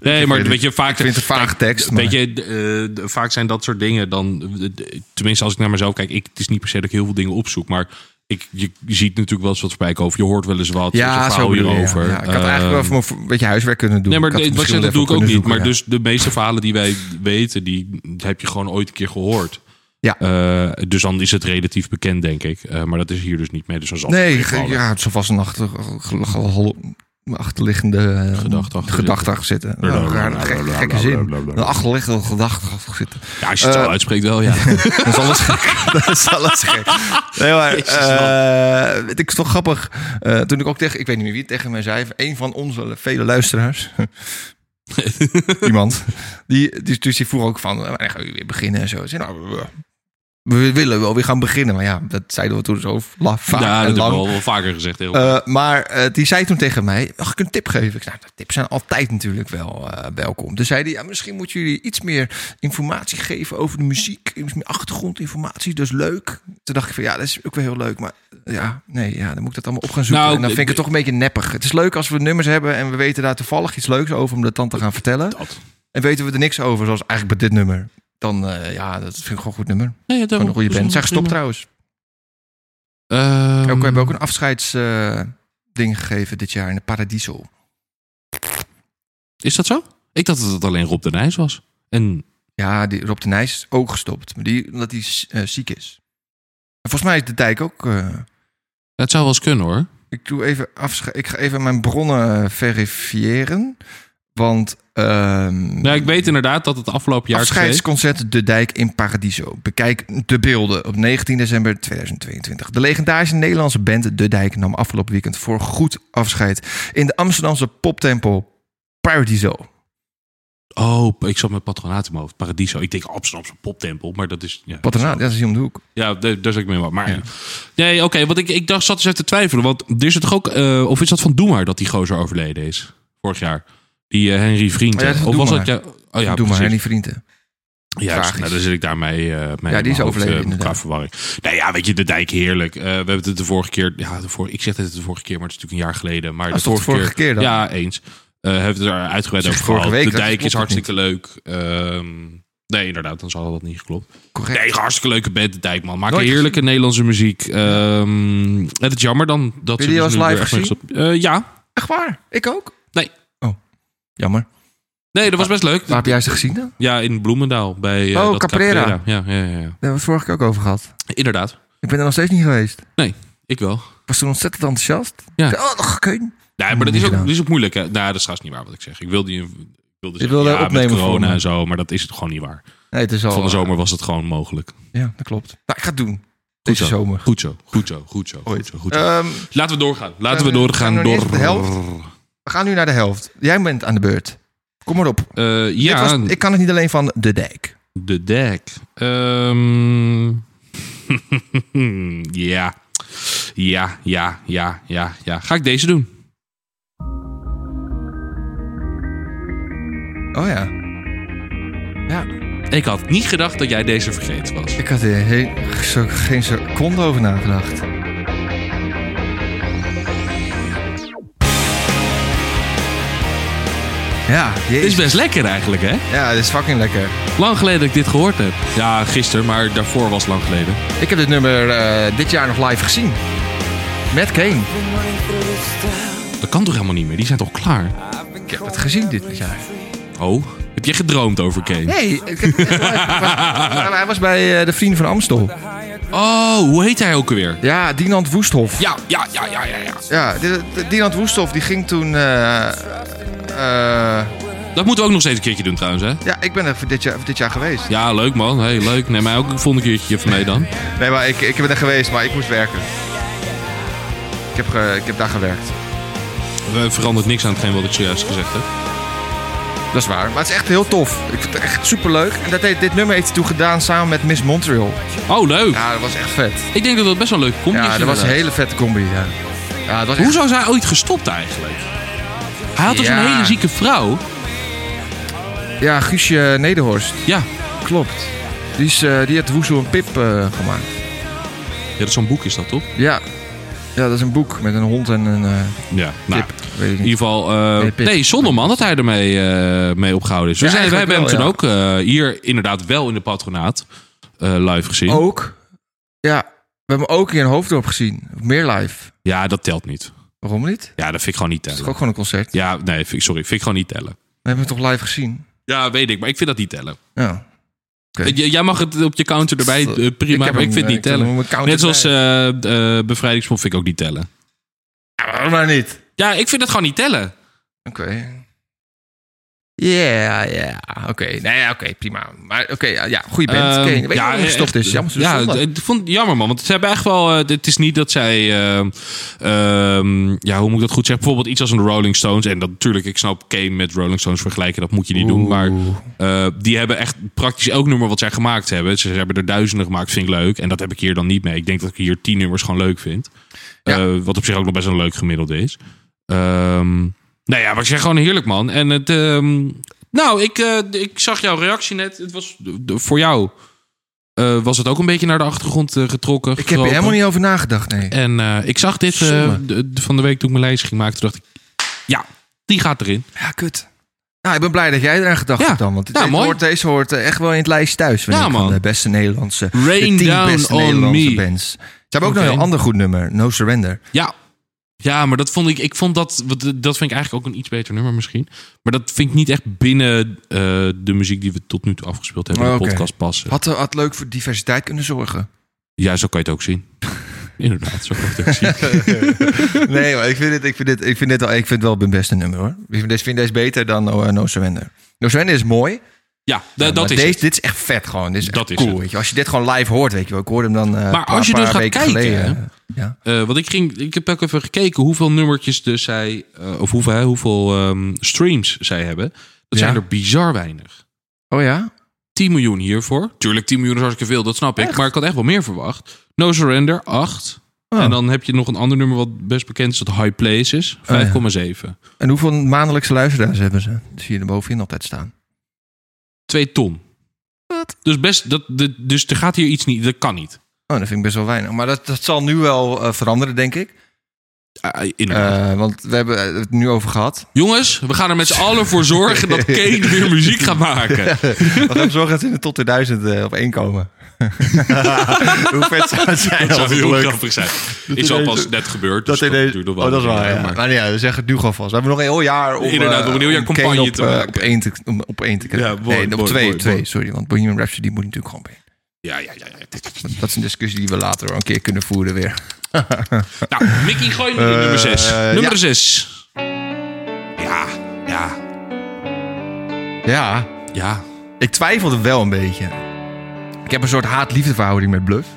S1: Nee, maar
S2: weet
S1: weet je, vaak...
S2: Ik vind het een vage tekst.
S1: Weet
S2: Maar,
S1: je, d- eh, d- vaak zijn dat soort dingen dan... d- Tenminste, als ik naar mezelf kijk, ik, het is niet per se dat ik heel veel dingen opzoek, maar... Ik, je ziet natuurlijk wel eens wat voorbij komen. of Je hoort wel eens wat. er is
S2: ja,
S1: een
S2: zo
S1: verhaal
S2: bedoel je, ja.
S1: hierover.
S2: Ja, ik had eigenlijk wel
S1: Ehm,
S2: even mijn vo- een beetje huiswerk kunnen doen.
S1: Nee, maar
S2: ik had
S1: dat,
S2: het
S1: wat je,
S2: misschien
S1: dat
S2: wel
S1: doe ik ook
S2: even
S1: niet.
S2: kunnen
S1: maar
S2: zoeken,
S1: dus de meeste verhalen die wij weten, die heb je gewoon ooit een keer gehoord.
S2: Ja.
S1: Eh, dus dan is het relatief bekend, denk ik. Eh, maar dat is hier dus niet mee. Dus dan zal
S2: ja. Nee,
S1: het
S2: ge-
S1: meevallen.
S2: ja, het zal vast een achter, ge- ge- hol- achterliggende eh,
S1: Gedachte achter
S2: gedachte achter zitten. Een rare, gek- gekke zin. Een achterliggende gedachte achter zitten.
S1: Ja, als je het zo
S2: Eh,
S1: uitspreekt wel, ja.
S2: Dat is alles gek. Dat is alles gek. Nee, maar,
S1: Jezus,
S2: eh, het is toch grappig. Eh, toen ik ook tegen, ik weet niet meer wie het tegen mij zei, een van onze vele luisteraars. Iemand. Die, die, dus die vroeg ook van, eh, wanneer gaan we weer beginnen en zo. Ik zei, nou, we, we willen wel weer gaan beginnen. Maar ja, dat zeiden we toen zo la- vaak
S1: ja,
S2: en
S1: dat heb ik
S2: lang.
S1: al wel vaker gezegd. Heel
S2: Eh, maar eh, die zei toen tegen mij, mag ik een tip geven? Ik zei, nou, tips zijn altijd natuurlijk wel eh, welkom. Toen zei hij, ja, misschien moeten jullie iets meer informatie geven over de muziek. Iets meer achtergrondinformatie, dus leuk. Toen dacht ik van, ja, dat is ook wel heel leuk. Maar ja, nee, ja, dan moet ik dat allemaal op gaan zoeken.
S1: Nou,
S2: en dan vind ik het
S1: ik-
S2: toch een beetje neppig. Het is leuk als we nummers hebben en we weten daar toevallig iets leuks over om dat dan te gaan vertellen.
S1: dat.
S2: En weten we er niks over, zoals eigenlijk bij dit nummer. Dan, eh, ja, dat vind ik gewoon een goed nummer.
S1: Nee, dat
S2: Gewoon een goede band. Zeg stop trouwens.
S1: Ehm,
S2: Ook, we hebben ook een afscheidsding gegeven dit jaar in de Paradiso.
S1: Is dat zo? Ik dacht dat het alleen Rob de Nijs was. En
S2: Ja, die, Rob de Nijs is ook gestopt. Maar die, omdat hij eh, ziek is. En volgens mij is de dijk ook... eh,
S1: dat zou wel eens kunnen, hoor.
S2: ik, doe even afsche- ik ga even mijn bronnen eh, verifiëren. Want... ehm,
S1: Ja, ik weet inderdaad dat het afgelopen jaar...
S2: Afscheidsconcert De Dijk in Paradiso. Bekijk de beelden op 19 december 2022. De legendarische Nederlandse band De Dijk nam afgelopen weekend voor goed afscheid in de Amsterdamse poptempel Paradiso.
S1: Oh, ik zat met patronaat in mijn hoofd. Paradiso. Ik denk Amsterdamse poptempel, maar dat is... Ja,
S2: Wat daarna, dat is hier om de hoek.
S1: Ja, daar daar zat ik mee wat. Maar
S2: Ja.
S1: nee, oké, want ik, ik dacht, zat eens even te twijfelen. Want er is het toch ook, eh, of is dat van Doe maar dat die gozer overleden is vorig jaar? Die eh, Henry Vriend.
S2: Oh ja, dat is
S1: of
S2: Doe
S1: was
S2: Maar.
S1: dat ja? Oh ja,
S2: Doe
S1: precies.
S2: maar, Henny Vrienden.
S1: Juist,
S2: Tragisch.
S1: nou, dan zit ik daarmee. eh, mee in
S2: Ja, die is
S1: mijn hoofd,
S2: overleden,
S1: eh, met
S2: inderdaad.
S1: elkaar verwarring. Nou ja, weet je, de dijk heerlijk. Eh, we hebben het de vorige keer. Ja, de vorige, ik zeg het de vorige keer, maar het is natuurlijk een jaar geleden. Maar
S2: Dat
S1: de
S2: Oh, is toch de
S1: vorige,
S2: vorige keer dan?
S1: Ja, eens. Eh hebben we het daar uitgebreid
S2: Zeg,
S1: over
S2: vorige
S1: gehad.
S2: week,
S1: de
S2: dat
S1: dijk is
S2: klopt ook
S1: hartstikke leuk. Ehm, nee, inderdaad, dan zal dat niet geklopt.
S2: Correct.
S1: Nee, hartstikke leuke band, de Dijkman. Maken
S2: Nooit
S1: heerlijke Nederlandse muziek. Ehm, en het is jammer dan dat
S2: Heb je
S1: ze
S2: die
S1: dus
S2: wel eens
S1: nu
S2: live
S1: weer echt mee gestopt- Eh, ja.
S2: Echt waar? Ik ook?
S1: Nee.
S2: Oh, jammer.
S1: Nee, dat was best leuk.
S2: Waar heb jij ze gezien dan?
S1: Ja, in Bloemendaal. Bij, eh,
S2: Oh,
S1: dat
S2: Caprera.
S1: Ja, ja, ja, ja.
S2: Daar hebben we het vorige keer ook over gehad.
S1: Inderdaad.
S2: Ik ben er nog steeds niet geweest.
S1: Nee, ik wel.
S2: Ik was toen ontzettend enthousiast.
S1: Ja.
S2: Ik zei, Oh, dat kun
S1: Nee, maar dat is ook,
S2: gedaan.
S1: dat is ook moeilijk. Hè? Nou, dat is trouwens niet waar wat ik zeg. Ik wilde, je- ik wilde zeggen,
S2: wilde
S1: ja,
S2: opnemen
S1: met
S2: voor
S1: corona
S2: me. Oh,
S1: en zo, maar dat is het gewoon niet waar.
S2: Nee, het is al...
S1: Van de zomer was het gewoon mogelijk. Goed
S2: Ja, dat klopt. Nou, ik ga het doen. Deze
S1: zo.
S2: zomer.
S1: Goed zo, goed zo, goed zo. Goed
S2: Ooit.
S1: zo, goed zo.
S2: Ehm,
S1: Laten we doorgaan. Laten we
S2: eh,
S1: doorgaan.
S2: zijn we nog
S1: Door...
S2: niet eens op de we gaan nu naar de helft. Jij bent aan de beurt. Kom maar op.
S1: Eh,
S2: Dit
S1: ja,
S2: was- ik kan het niet alleen van De Dijk.
S1: De dek. Ehm, ja. Ja, ja, ja, ja, ja. Ga ik deze doen?
S2: Oh ja. Ja.
S1: Ik had niet gedacht dat jij deze vergeten was.
S2: Ik had er heel, zo, geen seconde over nagedacht. Ja,
S1: Dit is
S2: jezus.
S1: best lekker eigenlijk, hè?
S2: Ja, dit is fucking lekker.
S1: Lang geleden dat ik dit gehoord heb. Ja, gisteren, maar daarvoor was het lang geleden.
S2: Ik heb dit nummer eh, dit jaar nog live gezien. Matt Kane.
S1: Dat kan toch helemaal niet meer? Die zijn toch klaar?
S2: Ik heb het gezien dit jaar.
S1: Oh, heb jij gedroomd over Kane?
S2: Nee, ik heb het echt live- Maar hij was bij eh, de Vrienden van Amstel.
S1: Oh, hoe heet hij ook alweer?
S2: Ja, Dinant Woesthof.
S1: Ja, ja, ja, ja, ja. ja.
S2: Ja, de- de- Dinant Woesthof die ging toen... eh, eh,
S1: Dat moeten we ook nog steeds een keertje doen trouwens, hè?
S2: ja, ik ben er voor dit jaar, voor dit jaar geweest.
S1: Ja, leuk man. Hey, leuk. Neem mij ook een volgende keertje even mee dan.
S2: Nee, maar ik, ik ben er geweest, maar ik moest werken. Ik heb, ge- ik heb daar gewerkt.
S1: We eh, verandert niks aan hetgeen wat ik zojuist gezegd heb.
S2: Dat is waar. Maar het is echt heel tof. Ik vind het echt superleuk. En dat heeft, dit nummer heeft hij toen gedaan samen met Miss Montreal.
S1: Oh, leuk.
S2: Ja, dat was echt vet.
S1: Ik denk dat dat best wel een leuke comedy is.
S2: Ja, dat was een
S1: inderdaad.
S2: hele vette combi. Ja. Ja, dat was echt-
S1: Hoe zou zij ooit gestopt eigenlijk? Hij had dus
S2: Ja.
S1: een hele zieke vrouw.
S2: ja Guusje eh, Nederhorst.
S1: Ja,
S2: Klopt. Die, is, eh, die heeft Woezel en Pip eh, gemaakt.
S1: ja dat zo'n boek is dat toch?
S2: Ja. ja, dat is een boek met een hond en een eh,
S1: Ja, nou.
S2: pip. Weet ik
S1: In
S2: niet.
S1: ieder geval, eh,
S2: Nee, Pip.
S1: nee, Zonderman dat hij ermee eh, mee opgehouden is. We,
S2: Ja,
S1: zijn, wij hebben
S2: eigenlijk
S1: hem toen
S2: wel,
S1: ook eh, hier inderdaad wel in de patronaat eh, live gezien.
S2: Ook. Ja, we hebben hem ook in Hoofddorp gezien. Meer live.
S1: Ja, dat telt niet.
S2: Waarom niet?
S1: Ja, dat vind ik gewoon niet
S2: Het is
S1: tellen.
S2: toch ook gewoon een concert.
S1: Ja, nee, vind ik- sorry, vind ik gewoon niet tellen.
S2: We hebben hem toch live gezien?
S1: Ja, weet ik, maar ik vind dat niet tellen. Eh,
S2: Ja. Oké.
S1: J- jij mag het op je counter erbij, eh, prima,
S2: heb
S1: maar ik
S2: hem,
S1: vind het
S2: eh,
S1: niet
S2: ik heb
S1: tellen.
S2: hem op mijn counter
S1: Net zoals
S2: bij.
S1: eh eh, Bevrijdingsmond vind ik ook niet tellen. eh,
S2: Ja, waarom nou niet?
S1: Ja, ik vind het gewoon niet tellen.
S2: Oké. Ja, ja. Oké. Nee, ja, oké. prima. Maar oké, ja, ja. Goeie band.
S1: Ehm,
S2: Oké, Weet je waarom hij gestopt
S1: echt,
S2: is? Jammer. ze
S1: ja,
S2: stonden.
S1: d- ik vond het jammer man. Want ze hebben echt wel. eh, het is niet dat zij. ehm, ehm, ja, hoe moet ik dat goed zeggen? Bijvoorbeeld iets als een Rolling Stones. En dat natuurlijk, ik snap Kane met Rolling Stones vergelijken. Dat moet je niet doen.
S2: Oeh.
S1: Maar eh, die hebben echt praktisch elk nummer wat zij gemaakt hebben. Ze hebben er duizenden gemaakt, vind ik leuk. En dat heb ik hier dan niet mee. Ik denk dat ik hier tien nummers gewoon leuk vind.
S2: Ja.
S1: Eh, wat op zich ook nog best een leuk gemiddelde is. Ehm, nou ja, maar ik zeg gewoon heerlijk, man. En het. ehm, nou, ik, eh, ik zag jouw reactie net. Het was d- d- voor jou. eh, was het ook een beetje naar de achtergrond eh, getrokken?
S2: ik heb er helemaal niet over nagedacht, nee.
S1: En eh, ik zag dit eh,
S2: Zonde.
S1: d- d- van de week toen ik mijn lijst ging maken. Toen dacht ik, ja, die gaat erin.
S2: Ja, kut. Nou, ik ben blij dat jij eraan gedacht
S1: Ja.
S2: hebt dan. Want
S1: Ja,
S2: dit
S1: mooi.
S2: Hoort, deze hoort eh, echt wel in het lijstje thuis. vind
S1: Ja,
S2: ik,
S1: man.
S2: Van de beste Nederlandse.
S1: Rain
S2: de tien
S1: down
S2: beste
S1: on
S2: Nederlandse
S1: me.
S2: bands. Ze hebben ook nog
S1: Oké.
S2: een heel ander goed nummer. No Surrender.
S1: Ja. Ja, maar dat vond ik. Ik vond dat. want Dat vind ik eigenlijk ook een iets beter nummer misschien. Maar dat vind ik niet echt binnen eh, de muziek die we tot nu toe afgespeeld hebben. in De
S2: Oh, Oké.
S1: podcast passen.
S2: Had, had leuk voor diversiteit kunnen zorgen.
S1: Ja, zo kan je het ook zien. Inderdaad, zo kan je het ook zien.
S2: nee, maar ik vind dit, ik vind dit, ik vind dit wel, ik vind het wel mijn beste nummer hoor. Ik vind deze, vind deze beter dan eh, No Surrender. No Surrender is mooi.
S1: Ja, da-
S2: Ja,
S1: Eh, dat
S2: maar
S1: is.
S2: deze,
S1: het.
S2: Dit is echt vet gewoon. Dit is
S1: Dat
S2: echt
S1: is
S2: cool.
S1: het.
S2: weet je. Als je dit gewoon live hoort, weet je wel. Ik hoorde hem dan eh,
S1: Maar
S2: een paar-
S1: als je
S2: paar
S1: dus gaat
S2: weken
S1: kijken,
S2: geleden. Ja.
S1: Eh, want ik, ging, ik heb ook even gekeken hoeveel nummertjes dus zij. eh, of hoeveel, hè, hoeveel ehm, streams zij hebben. Dat
S2: Ja.
S1: zijn er bizar weinig.
S2: Oh ja?
S1: 10 miljoen hiervoor. Tuurlijk, 10 miljoen is hartstikke veel, dat snap ik. Maar ik had echt wel meer verwacht. No Surrender, 8.
S2: Oh.
S1: En dan heb je nog een ander nummer wat best bekend is, dat High Places, 5,7.
S2: ja. En hoeveel maandelijkse luisteraars hebben ze? Dat zie je er bovenin altijd staan.
S1: Twee ton. Dus, best, dat, de- dus er gaat hier iets niet, dat kan niet.
S2: Oh, dat vind ik best wel weinig. Maar dat, dat zal nu wel eh, veranderen, denk ik.
S1: Ah, inderdaad.
S2: Eh, want we hebben het nu over gehad.
S1: Jongens, we gaan er met z'n allen voor zorgen dat Kane weer muziek gaat maken.
S2: We gaan zorgen dat ze in de top 2000 eh, op één komen. Hoe vet zou het zijn
S1: Dat zou
S2: als het
S1: heel
S2: lukt?
S1: grappig zijn. Is al
S2: ineens-
S1: pas net gebeurd. Dus
S2: Dat,
S1: dat,
S2: in deze...
S1: duurt nog wel
S2: Oh, dat is
S1: een
S2: waar,
S1: jaar,
S2: ja.
S1: maar-
S2: Maar ja, we zeggen het nu gewoon vast. We hebben nog een heel jaar om...
S1: Inderdaad,
S2: eh,
S1: om een heel jaar
S2: om Kane
S1: campagne
S2: op,
S1: te
S2: eh,
S1: maken.
S2: op één te, om, op één te krijgen.
S1: Ja, mooi,
S2: nee, op
S1: mooi,
S2: twee,
S1: mooi,
S2: twee,
S1: mooi.
S2: sorry. Want Bohemian Rhapsody moet natuurlijk gewoon bij.
S1: Ja, ja, ja. ja.
S2: Dat is een discussie die we later wel een keer kunnen voeren weer.
S1: Nou, Mickey, gooi nu
S2: Eh,
S1: nummer 6.
S2: ja.
S1: nummer 6. Ja, ja,
S2: Ja,
S1: ja.
S2: ik twijfelde wel een beetje. Ik heb een soort haat-liefdeverhouding met Bluff.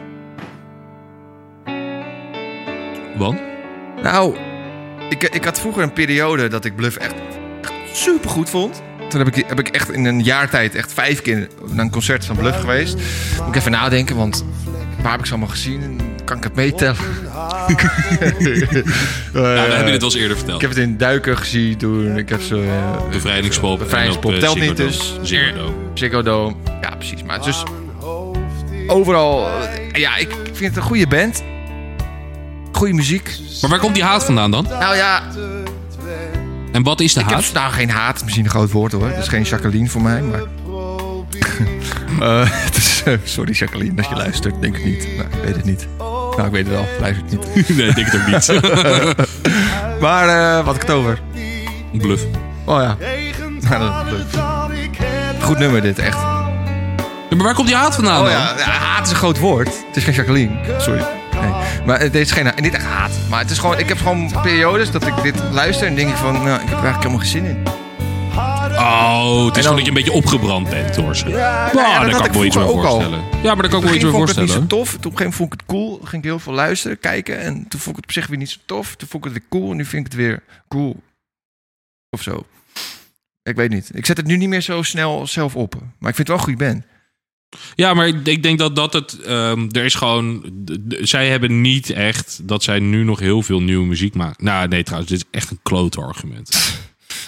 S1: Want?
S2: Nou, ik, ik had vroeger een periode dat ik Bluff echt, super goed vond. Toen heb ik, heb ik echt in een jaar tijd echt vijf keer naar een concert van Bluff geweest. Moet ik even nadenken, want waar heb ik ze allemaal gezien? Kan ik het meetellen? Eh,
S1: Ja, dan Nou, heb je dit wel eens eerder verteld.
S2: Ik heb het in Duiken gezien toen. Ik heb ze eh,
S1: Bevrijdingspop. en
S2: Bevrijdingspop
S1: op, eh,
S2: telt niet,
S1: Ziggo
S2: dus-
S1: Dome. Ziggo Dome.
S2: Ziggo Dome. Ja, precies. Maar dus overal... eh, Ja, ik vind het een goede band. Goede muziek.
S1: Maar waar komt die haat vandaan dan?
S2: Nou ja,
S1: En wat is de
S2: Ik
S1: haat?
S2: heb nou geen haat, is misschien een groot woord hoor. Dat is geen Jacqueline voor mij, maar... Eh, het is, eh, sorry Jacqueline, dat je luistert. Denk ik niet. Nou, ik weet het niet. Nou, ik weet het al. Luistert niet.
S1: nee, ik denk het ook niet.
S2: Maar eh, wat ik het over.
S1: Een Bluff.
S2: Oh ja. Ja, dat is leuk. Goed nummer dit, echt.
S1: Ja, maar waar komt die haat vandaan
S2: Oh
S1: dan?
S2: ja, ja, haat is een groot woord. Het is geen Jacqueline. Sorry. Nee. Maar het is geen, en niet echt haat. Maar het is gewoon, ik heb gewoon periodes dat ik dit luister en denk ik van, nou, ik heb er eigenlijk helemaal geen zin in.
S1: Oh, het is
S2: dan-
S1: gewoon dat je een beetje opgebrand bent, hoor. ze. Nou,
S2: ja, dat
S1: daar
S2: had
S1: kan ik
S2: ik
S1: me iets bij
S2: vroeger ook al.
S1: voorstellen. Ja, maar daar kan ik me
S2: Toen
S1: iets bij
S2: vond ik het
S1: voorstellen.
S2: niet zo tof. Toen op een gegeven moment vond ik het cool. Ging ik heel veel luisteren, kijken. En toen vond ik het op zich weer niet zo tof. Toen vond ik het weer cool. En nu vind ik het weer cool. Of zo. Ik weet niet. Ik zet het nu niet meer zo snel zelf op. Maar ik vind het wel een goede band.
S1: Ja, maar ik ik denk dat dat het. ehm, er is gewoon. d- d- Zij hebben niet echt dat zij nu nog heel veel nieuwe muziek maken. Nou, nee, trouwens, dit is echt een klote argument.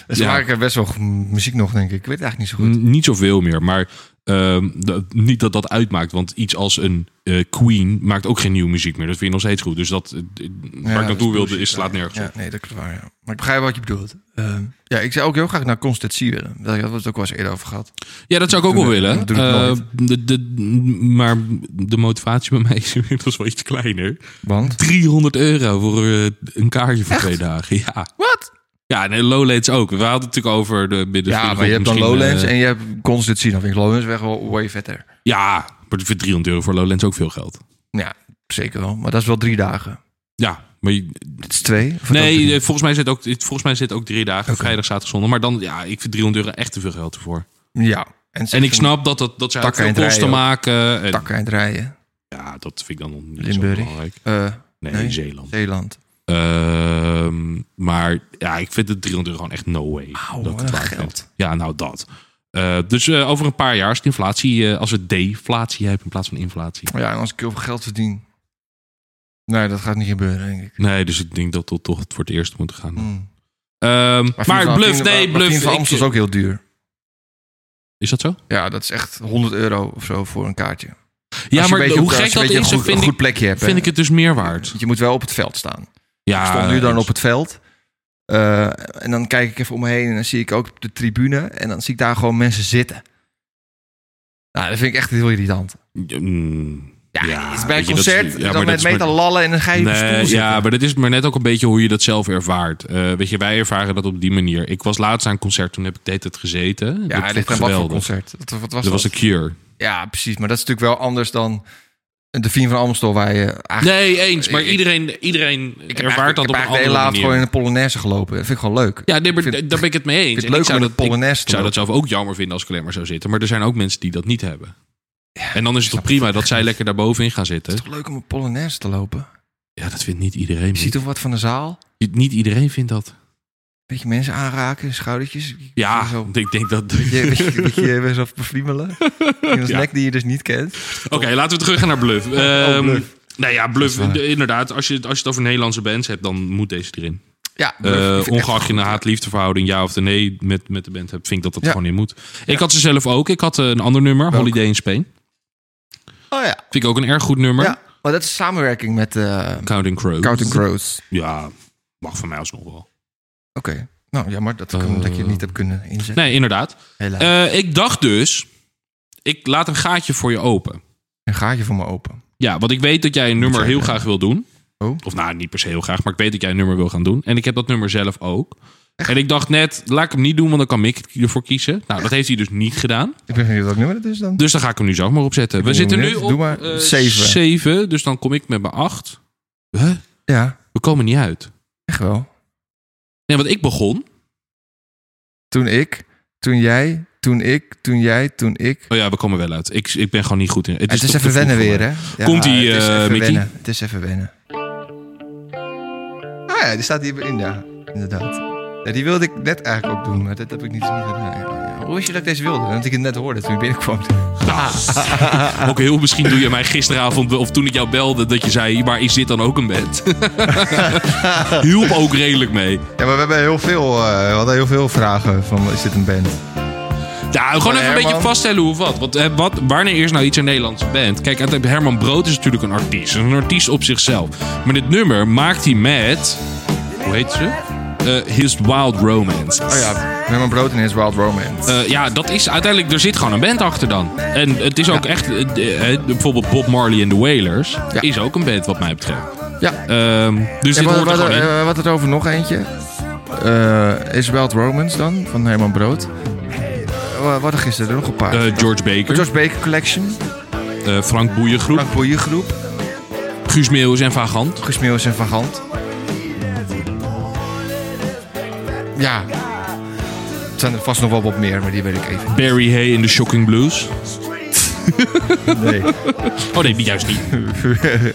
S2: Dus ze
S1: Ja. Mm.
S2: maken best wel muziek nog, denk ik. Ik weet het eigenlijk niet zo goed.
S1: N- Niet zoveel meer, maar ehm, dat- niet dat dat uitmaakt. Want iets als een eh, Queen maakt ook geen nieuwe muziek meer. Dat vind je nog steeds goed. Dus dat. eh, d- waar ik
S2: dat
S1: naartoe
S2: is
S1: wilde,
S2: bullshit.
S1: is slaat nergens
S2: Ja,
S1: op.
S2: nee, dat is waar. Ja. Maar ik begrijp wat je bedoelt. Ehm, ja, ik zou ook heel graag naar Constantie willen. Dat hebben we het ook wel eens eerder over gehad.
S1: Ja, dat zou ik ook
S2: Doe
S1: wel
S2: het-
S1: willen.
S2: doe het nooit.
S1: Eh, de, de, maar de motivatie bij mij is inmiddels wel iets kleiner.
S2: Want?
S1: 300 euro voor eh, een kaartje voor twee dagen. Ja.
S2: Wat?
S1: Ja, nee, Lowlands ook. We hadden het natuurlijk over de midden.
S2: Ja, maar je hebt dan
S1: eh,
S2: Lowlands en je hebt Constantie. Dan vind ik Lowlands weg wel way vetter.
S1: Ja, maar voor 300 euro voor Lowlands ook veel geld.
S2: Ja, zeker wel. Maar dat is wel drie dagen.
S1: Ja, maar je-
S2: Dit is twee? Of
S1: nee,
S2: dat-
S1: eh, volgens mij, zit ook, volgens mij zit ook drie dagen, vrijdag, zaterdag, zondag. Maar dan, ja, ik vind 300 euro echt te veel geld ervoor.
S2: Ja. En, ze
S1: En ik
S2: vinden
S1: snap dat, dat, dat zij ook
S2: Takken
S1: veel
S2: en
S1: kosten
S2: rijden
S1: maken. En,
S2: Takken aan het rijden.
S1: ja, dat vind ik dan nog niet
S2: Limburg.
S1: zo belangrijk.
S2: Eh,
S1: Nee,
S2: Nee.
S1: Zeeland.
S2: Zeeland.
S1: Ehm, maar ja, ik vind het 300 euro gewoon echt no way.
S2: Auw,
S1: dat ik het
S2: wat
S1: waard
S2: geld.
S1: vind. Ja, nou dat. Eh, dus eh, over een paar jaar, als de inflatie, eh, als we deflatie hebben in plaats van inflatie.
S2: Oh Ja, en als ik heel veel geld verdien. Nee, dat gaat niet gebeuren, denk ik.
S1: Nee, dus ik denk dat dat toch voor het eerst moet gaan.
S2: Hmm.
S1: Ehm, maar bluff, nee, bluff.
S2: Van
S1: ik-
S2: Amstel is ook heel duur.
S1: Is dat zo?
S2: Ja, dat is echt 100 euro of zo voor een kaartje.
S1: Ja,
S2: Als je
S1: maar
S2: een beetje
S1: hoe
S2: op- als
S1: gek
S2: je een
S1: dat
S2: beetje
S1: is,
S2: een goed,
S1: vind,
S2: een goed
S1: ik,
S2: plekje hebt.
S1: vind
S2: hè.
S1: ik het dus meer waard.
S2: Je moet wel op het veld staan.
S1: Ja,
S2: ik stond nu dan op het veld. Eh, en dan kijk ik even om me heen en dan zie ik ook de tribune. En dan zie ik daar gewoon mensen zitten. Nou, dat vind ik echt heel irritant.
S1: Mm,
S2: Ja, het is bij een
S1: weet je, dat is-
S2: concert
S1: ja, maar
S2: dan
S1: dat
S2: met
S1: is maar-
S2: meter lallen en dan ga je op de stoel
S1: Nee,
S2: zitten.
S1: ja, maar dat is maar net ook een beetje hoe je dat zelf ervaart. Eh, weet je, wij ervaren dat op die manier. Ik was laatst aan een concert, toen heb ik de hele tijd gezeten.
S2: Ja,
S1: dat
S2: dit
S1: vond
S2: ligt
S1: ik
S2: aan wat voor
S1: geweldig.
S2: concert. Wat, wat was
S1: Dat
S2: dat?
S1: was een cure.
S2: Ja, precies. Maar dat is natuurlijk wel anders dan de Vien van Amstel waar je eigenlijk...
S1: Nee, eens. Maar
S2: Ah, Ik-
S1: iedereen, iedereen
S2: ik heb
S1: ervaart
S2: eigenlijk-
S1: dat
S2: ik
S1: op een
S2: heb eigenlijk de
S1: andere
S2: hele avond
S1: manier.
S2: gewoon in de Polonaise gelopen. Dat vind ik gewoon leuk.
S1: Ja, nee, maar
S2: Ik vind-
S1: d- daar ben ik het mee eens.
S2: vind het
S1: En
S2: leuk
S1: ik zou
S2: om in
S1: dat,
S2: de
S1: ik
S2: Polonaise te
S1: zou dat
S2: lopen.
S1: zelf ook jammer vinden als ik alleen maar zou zitten. Maar er zijn ook mensen die dat niet hebben. en dan is het toch prima dat zij lekker daarbovenin gaan
S2: Het
S1: zitten.
S2: is toch leuk om een Polonaise te lopen?
S1: Ja, dat vindt niet iedereen.
S2: Je ziet toch wat van de zaal?
S1: Niet- Niet iedereen vindt dat.
S2: Beetje mensen aanraken, schoudertjes.
S1: Ja,
S2: Zo.
S1: ik denk dat...
S2: Je, beetje, beetje mezelf bevriemelen. Een
S1: Ja.
S2: snack die je dus niet kent.
S1: Oké, laten we terug gaan naar Bluff. Ehm,
S2: Oh, Bluff.
S1: Nou ja, Bluff,
S2: Dat is waar.
S1: de- inderdaad. Als je, het- als je het over Nederlandse bands hebt, dan moet deze erin.
S2: Ja,
S1: Eh, ongeacht je een haat-liefdeverhouding, ja of nee, met, met de band hebt, vind ik dat dat
S2: Ja.
S1: gewoon in moet. Ik had ze zelf ook. Ik had eh, een ander nummer,
S2: Welk?
S1: Holiday in Spain.
S2: Oh ja.
S1: Vind ik ook een erg goed nummer.
S2: ja. Maar dat is samenwerking met eh
S1: Counting Crows.
S2: Counting Crows.
S1: Ja, mag van mij alsnog wel.
S2: Oké. Nou, jammer dat, ik hem-
S1: Eh.
S2: dat je het niet hebt kunnen inzetten.
S1: Nee, inderdaad.
S2: Helaas.
S1: Eh, ik dacht dus, ik laat een gaatje voor je open.
S2: een gaatje voor me open.
S1: Ja, want ik weet dat jij een nummer
S2: jij
S1: heel
S2: doen?
S1: graag wil doen.
S2: Oh.
S1: Of nou, niet per se heel graag, maar ik weet dat jij een nummer wil gaan doen. En ik heb dat nummer zelf ook. En ik dacht net, laat ik hem niet doen, want dan kan Mick ervoor kiezen. Nou, dat heeft hij dus niet gedaan.
S2: Ik ben benieuwd welk nummer dat is dan.
S1: Dus dan ga ik hem nu zelf maar opzetten. We
S2: ben
S1: zitten nu
S2: benieuwd.
S1: op
S2: Doe maar
S1: eh,
S2: zeven.
S1: zeven, dus dan kom ik met mijn acht. Huh?
S2: Ja,
S1: We komen niet uit.
S2: echt wel.
S1: Nee, want ik begon.
S2: Toen ik, toen jij, toen ik, toen jij, toen ik.
S1: Oh ja, we komen wel uit. Ik, ik ben gewoon niet goed in. Het
S2: Het is,
S1: toch te
S2: even
S1: vroeg
S2: wennen
S1: voor
S2: weer,
S1: mij.
S2: hè? Ja, Ah,
S1: Komt-ie,
S2: het is
S1: eh,
S2: even
S1: Mickey?
S2: wennen. Het is even wennen. Ah ja, die staat hier in, ja. Inderdaad. Ja, die wilde ik net eigenlijk ook doen, maar dat heb ik niet, niet gedaan. Ja, ja. Hoe is je dat ik deze wilde? Dat ik het net hoorde toen je binnenkwam.
S1: Ook heel Nou, misschien doe je mij gisteravond, of toen ik jou belde, dat je zei: Maar is dit dan ook een bed? Hielp ook redelijk mee.
S2: Ja, maar we hebben heel veel, eh, we hadden heel veel vragen van is dit een band? Oh
S1: Nou, gewoon even een
S2: Herman.
S1: beetje vaststellen hoe of wat. Want, eh, wat. Wanneer is nou iets een Nederlandse band? Kijk, uiteindelijk, Herman Brood is natuurlijk een artiest. Een artiest op zichzelf. Maar dit nummer maakt hij met. Hoe heet ze? Eh, His Wild Romance.
S2: Oh ja, Herman Brood en His Wild Romance.
S1: Eh, ja, dat is uiteindelijk, er zit gewoon een band achter dan. En het is ook echt, eh, eh, bijvoorbeeld Bob Marley en de Wailers
S2: Ja.
S1: is ook een band wat mij betreft.
S2: ja.
S1: Ehm, dus dit
S2: En wat,
S1: hoort er
S2: wat,
S1: gewoon in.
S2: eh, wat het over nog eentje? Eh Is Wild Romance dan, van Herman Brood. Eh, wat er gisteren er nog een paar.
S1: Eh, George Baker,
S2: George Baker Collection,
S1: eh, Frank Boeiengroep,
S2: Frank Boeien Groep,
S1: Guus Meeuwis en Vagant.
S2: Guus Meeuwis en Van Gant. Ja. Er zijn er vast nog wel wat meer, maar die weet ik even.
S1: Barry Hay in de Shocking Blues.
S2: Nee.
S1: Oh nee, die juist niet.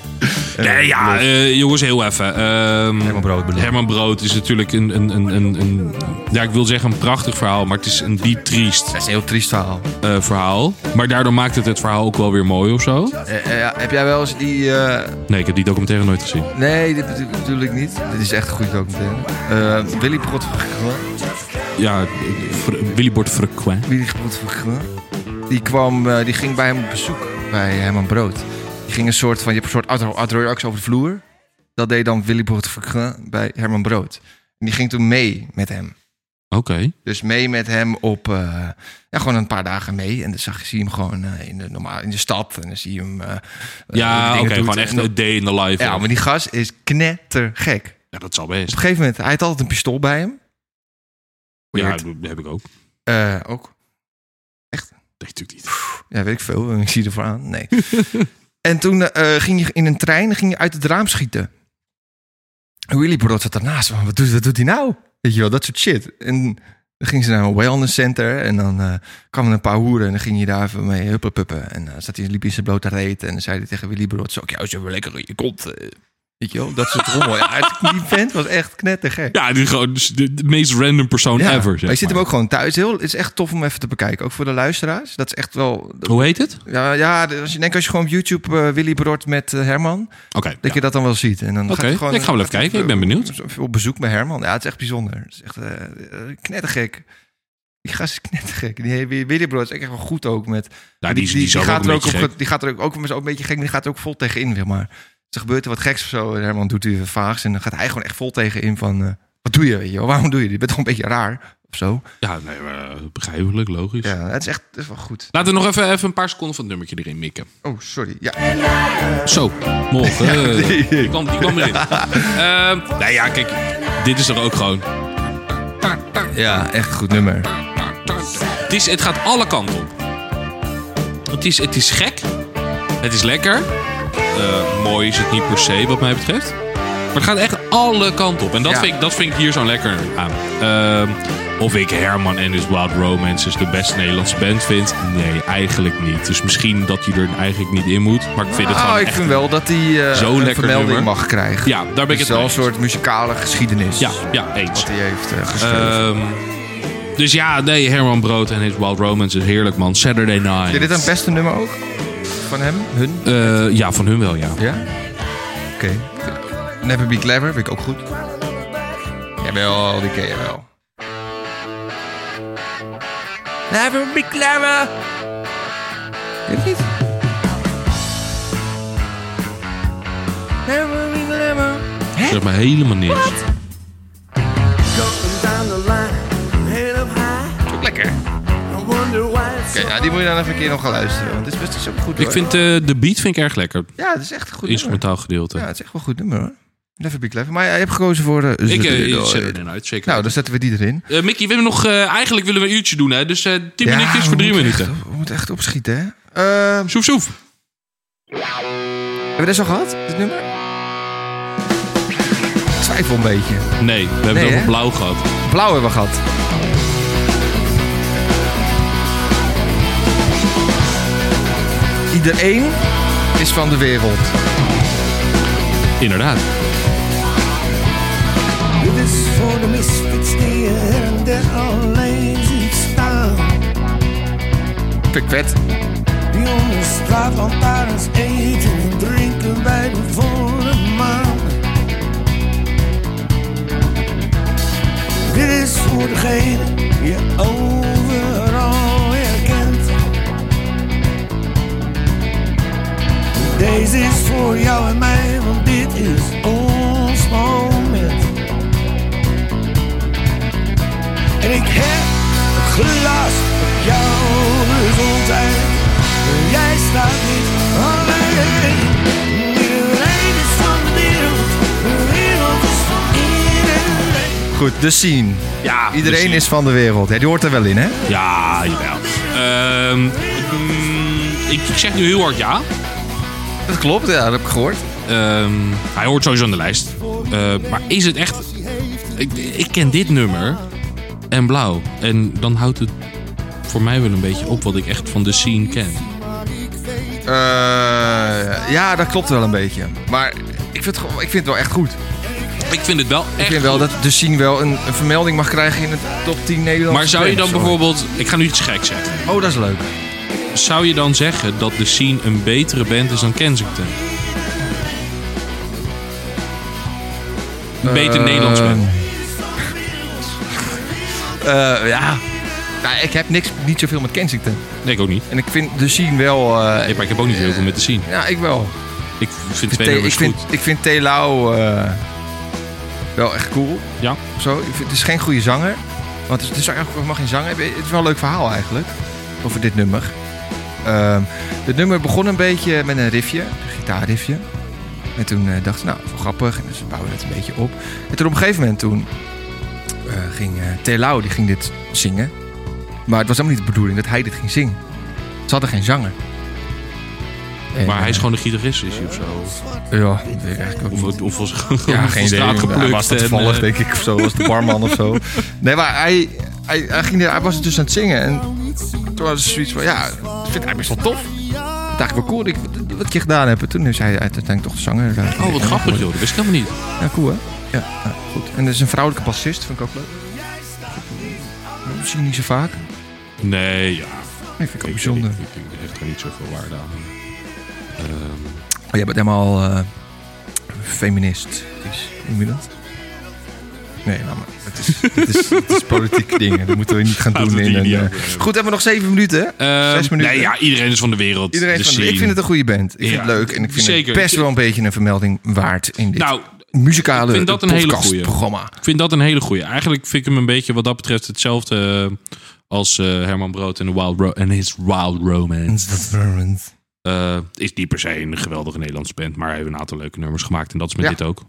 S1: Nee, ja, eh, jongens, heel even. Ehm,
S2: Herman Brood bedoel ik.
S1: Herman Brood is natuurlijk een, een, een, een, een- Ja, ik wil zeggen een prachtig verhaal, maar het is een diep triest
S2: Dat is een heel triest verhaal.
S1: eh, verhaal. Maar daardoor maakt het het verhaal ook wel weer mooi of zo.
S2: Eh, eh, heb jij wel eens die... eh,
S1: Nee, ik heb die documentaire nooit gezien.
S2: nee, dit bedoel bedoel ik niet. Dit is echt een goede documentaire. Eh Willy Godvergla.
S1: Ja, Fr- Willy Bord Frequent.
S2: Willy Godvergla. Die kwam, eh, die ging bij hem op bezoek. Bij Herman Brood. Die ging een soort van, je hebt een soort outdoor- outdoor acts over de vloer. Dat deed dan Willy Godvergla bij Herman Brood. En die ging toen mee met hem.
S1: Oké.
S2: Dus mee met hem op, eh, ja, gewoon een paar dagen mee. En dan zag, zie je hem gewoon eh, in, de, normaal, in de stad. En dan zie je hem... eh, eh,
S1: Ja,
S2: dingen
S1: oké,
S2: doet.
S1: gewoon echt
S2: En dan-
S1: een day in the life.
S2: Ja, maar die gast is knettergek. Dus Op
S1: Ja, dat zal best.
S2: een gegeven moment, hij had altijd een pistool bij hem.
S1: Ja,
S2: Weird.
S1: dat heb ik ook.
S2: Eh, ook.
S1: Nee, natuurlijk niet.
S2: Ja, weet ik veel. Ik zie ervoor aan. Nee. en toen eh, ging je in een trein en ging je uit het raam schieten. En Willy Brood zat daarnaast. van, Wat doet, wat doet hij nou? Weet je wel, dat soort shit. En dan ging ze naar een wellness center. En dan eh kwamen een paar hoeren. En dan ging je daar even mee huppelpuppen. En dan zat hij, liep hij in zijn blote reet. En dan zei hij tegen Willy Brood. Zo, ja, zo wel lekker in je kont. eh." Weet je wel, dat soort rommel. Ja, het- die vent was echt knettergek.
S1: Ja, die gewoon dus de, de meest random persoon
S2: Ja,
S1: ever. Zeg
S2: maar je zit hem
S1: maar.
S2: ook gewoon thuis. Heel, het is echt tof om even te bekijken. Ook voor de luisteraars. Dat is echt wel...
S1: Hoe heet het? Oké.
S2: Ja, ja d- als je denkt als je gewoon op YouTube eh, Willy Broert met eh, Herman, dat
S1: ja.
S2: je dat dan wel ziet. En dan
S1: Oké,
S2: gaat hij gewoon,
S1: ik ga wel even
S2: gaat hij
S1: kijken.
S2: op-
S1: Ik ben benieuwd.
S2: op- Op bezoek bij Herman. Ja, het is echt bijzonder. Het is echt eh, eh, knettergek. Die gast is knettergek. Die he- Willy Broert is echt wel goed ook met...
S1: Nou, die, die, die, zal
S2: gaat
S1: ook
S2: er
S1: een
S2: ook, op,
S1: beetje gek.
S2: ge- die gaat er ook, ook met zo'n beetje gek, maar die gaat er ook vol tegenin, zeg maar. Dus er gebeurt er wat geks of zo. en Herman doet u vaags en dan gaat hij gewoon echt vol tegenin van... eh, wat doe je, weet je wel? Waarom doe je dit? Je bent toch een beetje raar of zo.
S1: Ja, nee, maar, eh, begrijpelijk, logisch.
S2: Ja, het is echt het is wel goed.
S1: Laten we nog even, even een paar seconden van het nummertje erin mikken.
S2: Oh, sorry. Ja,
S1: Zo, morgen. eh, die, kwam, die kwam erin. Eh, nou ja, kijk, dit is er ook gewoon.
S2: ja echt goed nummer.
S1: Het, is, het gaat alle kanten op. Het is, het is gek. Het is lekker. Eh, mooi is het niet per se, wat mij betreft. Maar het gaat echt alle kanten op. En dat,
S2: Ja.
S1: vind, ik, dat vind ik hier zo lekker aan. Ehm, of ik Herman en his Wild Romances de beste Nederlandse band vind? Nee, eigenlijk niet. Dus misschien dat hij er eigenlijk niet in moet. Maar ik vind het
S2: Ah,
S1: gewoon
S2: ik
S1: echt
S2: vind wel dat hij eh,
S1: Zo'n
S2: een
S1: lekker
S2: vermelding
S1: nummer.
S2: mag krijgen.
S1: Ja, daar ben ik
S2: Dus
S1: het
S2: wel
S1: mee
S2: een
S1: eens.
S2: soort muzikale geschiedenis.
S1: Ja, ja eens.
S2: Wat hij heeft eh, geschreven.
S1: Ehm, dus ja, nee, Herman Brood en his Wild Romance is heerlijk, man. Saturday Night.
S2: Is dit een beste nummer ook? Van hem? Hun?
S1: Eh, ja, van hun wel, ja.
S2: Ja? Oké. Never Be Clever vind ik ook goed. Jawel, die ken je wel. Never Be Clever! Dit niet? Never Be Clever.
S1: Zeg maar helemaal niks.
S2: Ook lekker. Oké, nou, die moet je dan even een keer nog gaan luisteren. Want het is best het is ook goed hoor.
S1: Ik vind eh, de beat vind ik erg lekker.
S2: Ja, het is echt een goed nummer.
S1: Instrumentaal gedeelte.
S2: Ja, het is echt wel een goed nummer hoor. Never Be Clever. Maar ja, je hebt gekozen voor... eh,
S1: ik
S2: Saturday
S1: eh
S2: Night.
S1: Saturday Night, zeker.
S2: Nou, dan zetten we die erin.
S1: Eh, Mickey, we hebben nog, eh, eigenlijk willen we een uurtje doen, hè? Dus eh 10 minuutjes
S2: we
S1: voor 3
S2: moeten
S1: minuten.
S2: echt- we moeten echt opschieten, hè? Eh,
S1: Soef, soef.
S2: hebben we dit al gehad, dit nummer? Ik twijfel een beetje.
S1: Nee, we hebben
S2: Nee,
S1: het
S2: hè?
S1: over blauw gehad.
S2: Blauw hebben we gehad. Iedereen is van de wereld.
S1: Inderdaad.
S4: It is for the misfits, the and that all lazy style.
S2: Vind ik vet.
S4: Die jongens straat van Parijs eten en drinken bij de volle maan. Dit is voor degene die je overal herkent. Deze is voor jou en mij, want dit is ons moment. En ik heb gelast op jouw gezondheid. Jij staat niet alleen. Iedereen is van de wereld, de wereld is van iedereen.
S2: Goed, de scene.
S1: Ja,
S2: Iedereen
S1: precies.
S2: is van de wereld. Ja, die hoort er wel in, hè?
S1: Ja, jawel. Ehm, mm, ik, ik zeg nu heel hard ja.
S2: Dat klopt, ja, dat heb ik gehoord.
S1: Ehm, hij hoort sowieso aan de lijst. Eh, maar is het echt... Ik, ik ken dit nummer en blauw. En dan houdt het voor mij wel een beetje op wat ik echt van de scene ken.
S2: Eh, ja, dat klopt wel een beetje. Maar ik vind het, gewoon- ik vind het wel echt goed.
S1: Ik vind het wel echt
S2: Ik vind wel dat de scene wel een, een vermelding mag krijgen in de top 10 Nederlandse
S1: Maar zou je dan
S2: trends, hoor.
S1: bijvoorbeeld... Ik ga nu iets geks zeggen.
S2: Oh, dat is leuk.
S1: Zou je dan zeggen dat de scene een betere band is dan Kensington? Een beter
S2: Eh,
S1: Nederlands band.
S2: Eh, ja. Nou, ik heb niks, niet zoveel met Kensington.
S1: Nee, ik ook niet.
S2: En ik vind de scene wel... eh,
S1: Nee, maar ik heb ook niet heel veel met de scene.
S2: ja, ik wel.
S1: Ik vind twee
S2: Ik vind, ik
S1: nummers goed.
S2: vind, ik vind T. Lau, eh, wel echt cool.
S1: Ja.
S2: Of Zo. Ik vind- het is geen goede zanger. Want het is eigenlijk helemaal geen zanger. Het is wel een leuk verhaal eigenlijk. Over dit nummer. Ehm het nummer begon een beetje met een riffje. Een gitaarriffje. En toen eh, dacht ik, nou, wel grappig. En dus bouwden we het een beetje op. En toen op een gegeven moment toen eh, ging eh T. Lau, die ging dit zingen. Maar het was helemaal niet de bedoeling dat hij dit ging zingen. Ze hadden geen zanger. En,
S1: Maar hij is
S2: eh,
S1: gewoon een gitarist, is hij of zo?
S2: Ja, dat weet ik eigenlijk ook
S1: Of,
S2: niet.
S1: of was hij gewoon
S2: Ja,
S1: van
S2: geen idee.
S1: straat geplukt.
S2: Ja, was dat
S1: en,
S2: toevallig,
S1: eh,
S2: denk ik, of zo. Was de barman of zo. Nee, maar hij, hij, hij, ging, er- hij was dus aan het zingen. En toen was het zoiets van, ja, dat vindt hij best wel tof. Dat dacht ik wel cool, dat ik, wat ik je gedaan hebt. En Toen is hij uiteindelijk toch de zanger. eh,
S1: Oh, wat grappig joh, dat wist ik helemaal niet.
S2: Ja, cool hè? Ja, ja, goed. En er is een vrouwelijke bassist, vind ik ook leuk. Dat zie je niet zo vaak.
S1: Nee, ja.
S2: Nee, vind ik ook
S1: Ik,
S2: bijzonder.
S1: ik, ik, ik hecht er niet zoveel waarde aan. Ehm,
S2: Oh, jij bent helemaal eh, feminist. Noem je dat? Nee, laat maar. Het is, het is, het is politiek dingen. Dat moeten we niet gaan
S1: Laten
S2: doen.
S1: we
S2: In
S1: die
S2: een,
S1: niet
S2: eh,
S1: over-
S2: Goed, hebben we nog zeven minuten. hè?
S1: ehm,
S2: Zes minuten.
S1: Nee, ja, iedereen is van de wereld.
S2: Iedereen
S1: de
S2: van, ik
S1: scene.
S2: vind het een goede band. Ik
S1: Ja,
S2: vind het leuk. En ik vind
S1: zeker.
S2: het best wel een beetje een vermelding waard in dit
S1: Nou,
S2: muzikale
S1: ik vind dat een hele
S2: podcastprogramma.
S1: ik vind dat een hele goeie. Eigenlijk vind ik hem een beetje wat dat betreft hetzelfde eh, als eh, Herman Brood en The Wild Ro- en His Wild Romance. Eh, is niet per se een geweldige Nederlandse band, maar heeft een aantal leuke nummers gemaakt. En dat is met
S2: Ja.
S1: dit ook.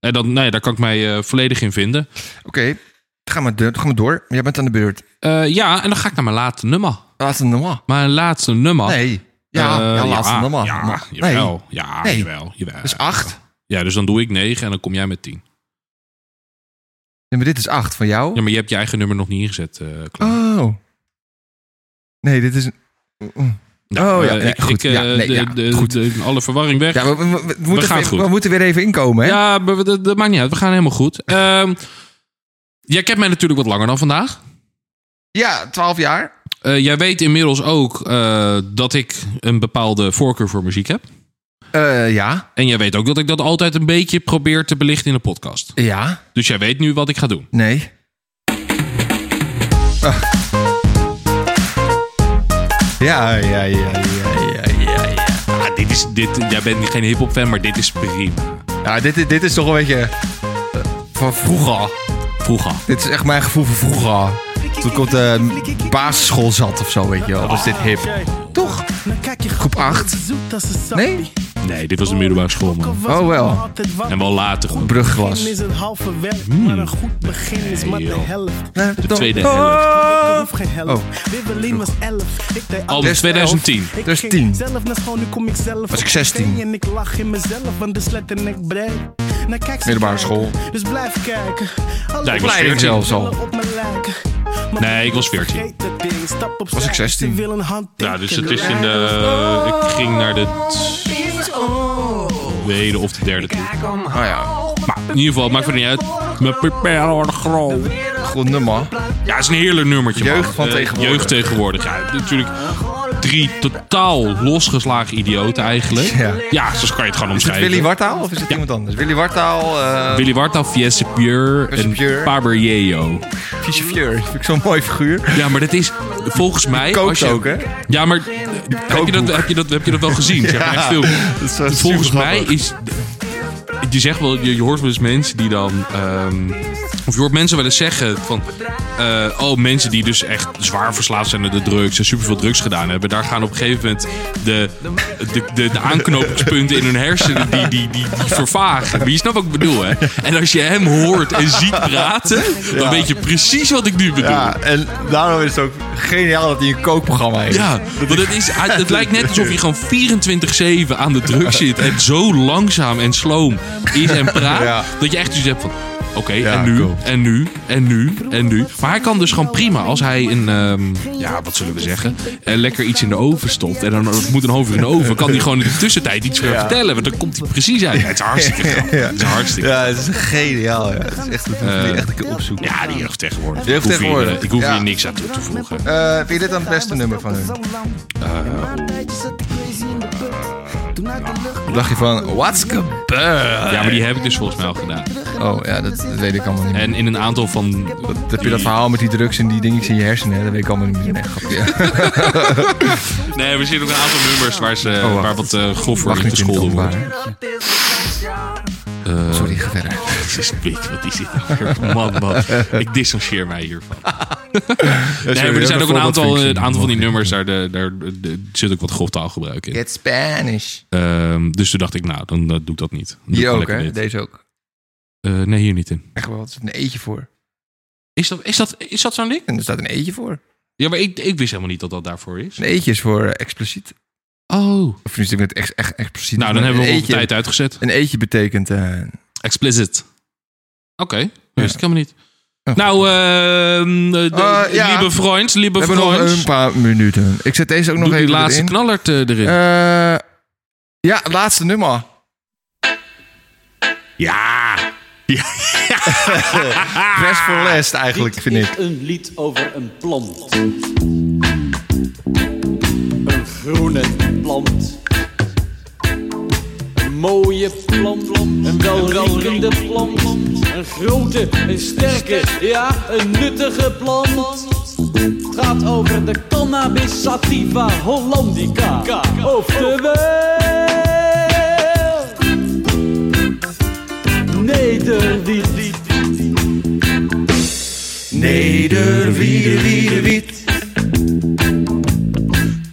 S1: En dan, nee, daar kan ik mij eh, volledig in vinden.
S2: Oké, ga maar door- ga maar door. Jij bent aan de beurt.
S1: Eh, ja, en dan ga ik naar mijn laatste nummer.
S2: Laat het normaal.
S1: Mijn laatste nummer.
S2: Nee. Ja,
S1: Ah. Eh,
S2: ja laat het normaal.
S1: Ja,
S2: nee.
S1: jawel. Ja,
S2: Nee.
S1: jawel. jawel.
S2: Dat is acht.
S1: Ja, dus dan doe ik 9 en dan kom jij met 10.
S2: Nee, maar dit is acht van jou.
S1: Ja, maar je hebt je eigen nummer nog niet ingezet, eh Klaas.
S2: Oh. Nee, dit is... een-
S1: Nou,
S2: oh, ja,
S1: eh,
S2: ja,
S1: ik-
S2: goed.
S1: ik, eh,
S2: Ja, nee,
S1: de-
S2: ja,
S1: de-
S2: goed.
S1: de- alle verwarring weg.
S2: Ja, we, we- we- we moeten,
S1: gaan
S2: weer-
S1: goed.
S2: we moeten weer even inkomen, hè?
S1: Ja, maar we- dat, dat maakt niet uit. We gaan helemaal goed. Ehm jij kent mij natuurlijk wat langer dan vandaag.
S2: Ja, 12 jaar.
S1: Eh, jij weet inmiddels ook eh, dat ik een bepaalde voorkeur voor muziek heb.
S2: Eh, ja.
S1: En jij weet ook dat ik dat altijd een beetje probeer te belichten in een podcast.
S2: Ja.
S1: Dus jij weet nu wat ik ga doen.
S2: Nee. Ah. Ja, ja, ja, ja, ja, ja, ja.
S1: Ah, dit is, dit, jij bent geen hip-hop fan, maar dit is prima.
S2: Ja, dit, is- dit is toch een beetje... eh, van vroeger.
S1: Vroeger.
S2: Dit is echt mijn gevoel van vroeger. Toen ik op de basisschool zat of zo, weet je wel. Was dit hip. Toch? Groep 8. Nee?
S1: Nee, dit was een middelbare school, man.
S2: Oh, wel.
S1: En wel later gewoon.
S2: Brugglas.
S5: Is een halve weg, maar een goed begin is maar de
S1: joh.
S5: helft.
S1: De tweede helft.
S5: Ik hoef geen helft.
S2: Oh.
S5: Wibbelin was elf. Ik deed
S1: Album
S2: Des-
S1: 2010.
S5: Ik
S2: Dus
S5: ging
S2: tien.
S5: Zelf naar school, nu kom ik zelf.
S2: Was ik
S5: op
S2: 16.
S5: tv En ik lach in mezelf, want de slet en ik breed. Nou, kijk, ze
S2: Middelbare
S5: kijken,
S2: school.
S5: Dus blijf kijken. Alle
S1: Nee, ik was 14.
S5: blijven
S2: zelfs al.
S5: op mijn lijken. Maar
S1: Nee, ik was 14.
S5: vergeet dat ding, stap opzij,
S2: Was ik 16?
S5: ze willen hand
S1: Ja, dus het
S5: tikken.
S1: is in de... Ik ging naar de tweede of de derde toe.
S2: Oh ja,
S1: Maar in ieder geval, maakt het niet uit. Mijn pupillen worden groot.
S2: goed nummer.
S1: Ja, het is een heerlijk nummertje, man.
S2: Jeugd van
S1: Eh,
S2: tegenwoordig.
S1: Jeugd tegenwoordig, ja. Natuurlijk drie totaal losgeslagen idioten eigenlijk.
S2: Ja.
S1: Ja, zo kan je het gewoon
S2: Is het
S1: omschrijven.
S2: Willy Wartaal of is het iemand anders? Willy Wartaal, eh
S1: Willy Wartaal, Fiesse Pieur en
S2: Pieur.
S1: Paberjeo.
S2: Fische Fleur. Vind ik zo'n mooi figuur.
S1: Ja, maar dat is volgens mij...
S2: Kookt
S1: als je-
S2: ook, hè?
S1: Ja, maar eh, heb je, dat, heb, je dat, heb je dat wel gezien? Zeg maar, echt veel.
S2: dat is wel
S1: Volgens
S2: super
S1: mij
S2: grappig.
S1: is. Je, zegt wel, je, je hoort wel eens mensen die dan. ehm, of je hoort mensen wel eens zeggen van. eh, oh, mensen die dus echt zwaar verslaafd zijn aan de drugs en superveel drugs gedaan hebben. Daar gaan op een gegeven moment de, de, de, de aanknopingspunten in hun hersenen die, die, die, die vervagen. Maar je snapt wat ik bedoel, hè? En als je hem hoort en ziet praten, dan
S2: Ja.
S1: weet je precies wat ik nu bedoel.
S2: Ja, en daarom is het ook geniaal dat hij een kookprogramma heeft.
S1: Ja, want het, is, het lijkt net alsof je gewoon 24-7 aan de druk zit. En zo langzaam en sloom is en praat.
S2: Ja.
S1: Dat je echt iets hebt van... Oké,
S2: Ja,
S1: en nu,
S2: cool.
S1: en nu, en nu, en nu. Maar hij kan dus gewoon prima als hij een, ehm, ja, wat zullen we zeggen, eh, lekker iets in de oven stopt. En dan het moet een half uur in de oven. Kan hij gewoon in de tussentijd iets gaan vertellen. Want dan komt hij precies uit. Ja, het is hartstikke grappig. Het is hartstikke eh,
S2: Ja, het is geniaal. Ja. Het is echt, dat moet je echt een keer opzoeken.
S1: Ja, die jeugd tegenwoordig.
S2: Jeugd
S1: Ik hoef hier, eh,
S2: tegenwoordig.
S1: Ik hoef hier
S2: Ja.
S1: niks aan toe te voegen.
S2: Eh, vind je dit dan het beste nummer van hun?
S1: Ah,
S2: dacht je van, what's gebeurd?
S1: Ja, maar die heb ik dus volgens mij al gedaan.
S2: Oh ja, dat, dat weet ik allemaal niet meer.
S1: En in een aantal van...
S2: Dat heb je dat verhaal met die drugs en die dingetjes in je hersenen, hè? dat weet ik allemaal niet meer. Nee, grapje.
S1: Nee, we zien ook een aantal nummers waar, ze,
S2: Oh, wacht.
S1: waar wat eh grof voor
S2: Mag
S1: in
S2: niet in het
S1: gescholden wordt.
S2: openbaar. Sorry, ga verder.
S1: Jezus, pik, wat is dit nou weer? Man, man. Ik distancieer mij hiervan. Nee, maar er zijn ook een aantal, eh,
S2: eh,
S1: een aantal van die nummers, daar, daar, daar, daar zit ook wat grof taalgebruik in.
S2: Get Spanish.
S1: Ehm, dus toen dacht ik, nou, dan eh, doe ik dat niet. Dan doe ik
S2: Hier
S1: wel
S2: ook,
S1: lekker
S2: hè?
S1: dit.
S2: Deze ook.
S1: Eh, nee, hier niet in.
S2: Echt wel, er zit een eetje voor.
S1: Is dat, is dat, is dat zo'n ding?
S2: En er staat een eetje voor.
S1: Ja, maar ik, ik wist helemaal niet dat dat daarvoor is.
S2: Een eetje is voor eh, expliciet.
S1: Oh.
S2: Of nu zit ik met echt, echt expliciet.
S1: Nou, dan
S2: Een
S1: hebben we al de
S2: eetje-
S1: tijd uitgezet.
S2: Een eetje betekent... eh,
S1: Explicit. Oké,
S2: Ja.
S1: wist ik helemaal niet.
S2: goed.
S1: Nou, ehm eh, de-
S2: Eh, ja.
S1: lieve vriend, lieve
S2: we hebben nog
S1: vriend.
S2: een paar minuten. Ik zet deze ook nog
S1: Doe
S2: even
S1: die laatste
S2: erin.
S1: knaller eh, erin.
S2: Eh, ja, laatste nummer.
S1: ja.
S2: Best voor last eigenlijk, vind
S6: Dit
S2: ik.
S6: is een lied over een plant. Een groene plant. Een mooie plant. Een welriekende plant. Een grote, een sterke, ja, een nuttige plant. Het gaat over de cannabis sativa hollandica. Oftewel... Nederwiet.
S2: Nederwiede, wiede, wiet.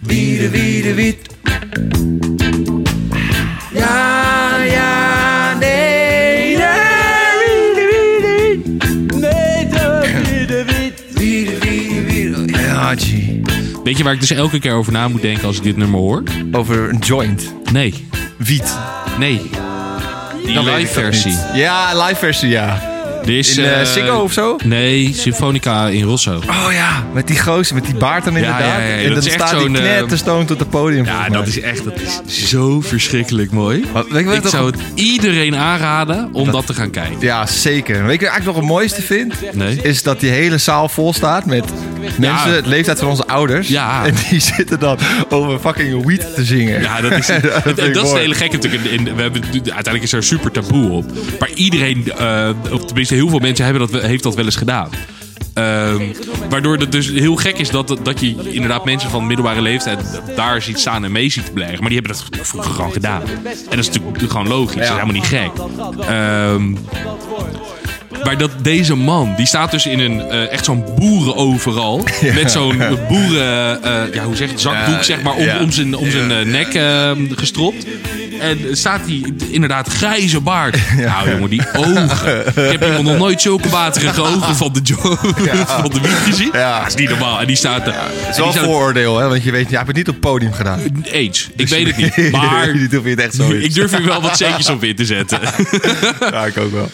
S2: Wiede, wiede, wiet. Ja, ja, nederwiede, wiede, wiet.
S6: Nederwiet.
S2: Wiede, wiede, wiede. Ja, gee.
S1: Weet je waar ik dus elke keer over na moet denken als ik dit nummer hoor?
S2: Over een joint.
S1: Nee,
S2: Wiet.
S1: nee. Die live versie.
S2: Ja, live versie, ja.
S1: Dit is,
S2: In eh,
S1: eh,
S2: Ziggo of zo?
S1: Nee, Symfonica in Rosso.
S2: Oh ja, met die gozer, met die baard dan inderdaad.
S1: ja, ja,
S2: en
S1: dat
S2: dan
S1: is echt
S2: staat die
S1: zo'n, eh,
S2: knetterstoon tot het podium.
S1: Ja,
S2: volgens mij.
S1: dat is echt dat is zo verschrikkelijk mooi.
S2: Wat- weet je wat
S1: Ik
S2: toch-
S1: zou het iedereen aanraden om dat, te gaan kijken.
S2: Ja, zeker. Weet je wat ik eigenlijk nog het mooiste vind?
S1: Nee.
S2: Is dat die hele zaal vol staat met mensen, het leeftijd van onze ouders.
S1: Ja.
S2: En die zitten dan over fucking weed te zingen.
S1: Ja, dat is, dat,
S2: vind ik
S1: dat is het
S2: mooi.
S1: hele gekke natuurlijk. In- in- we hebben, uiteindelijk is er super taboe op. Maar iedereen, eh, of tenminste heel veel mensen, hebben dat, we- heeft dat wel eens gedaan. Ehm, waardoor het dus heel gek is dat, dat je inderdaad mensen van middelbare leeftijd daar ziet staan en mee ziet blijven. Maar die hebben dat vroeger gewoon gedaan. En dat is natuurlijk gewoon logisch. Dat is helemaal niet gek. Ehm, maar dat deze man, die staat dus in een eh, echt zo'n boeren overal. Met zo'n boeren, eh, ja, hoe zeg je, zakdoek
S2: Ja,
S1: zeg maar, om,
S2: ja.
S1: om zijn, om zijn eh, nek eh, gestropt. En staat hij inderdaad grijze baard. Nou jongen, die ogen. Ik heb iemand nog nooit zulke waterige ogen van de, jo- van de wiet gezien.
S2: Ja.
S1: Dat is niet normaal. En die staat daar.
S2: Het is wel een vooroordeel, hè? want je weet, ja, ik heb het niet op het podium gedaan.
S1: Eens, ik weet het niet. Maar
S2: Dus Je doet het echt zo.
S1: ik durf hier wel wat centjes op in te zetten.
S2: Ja, ik ook wel.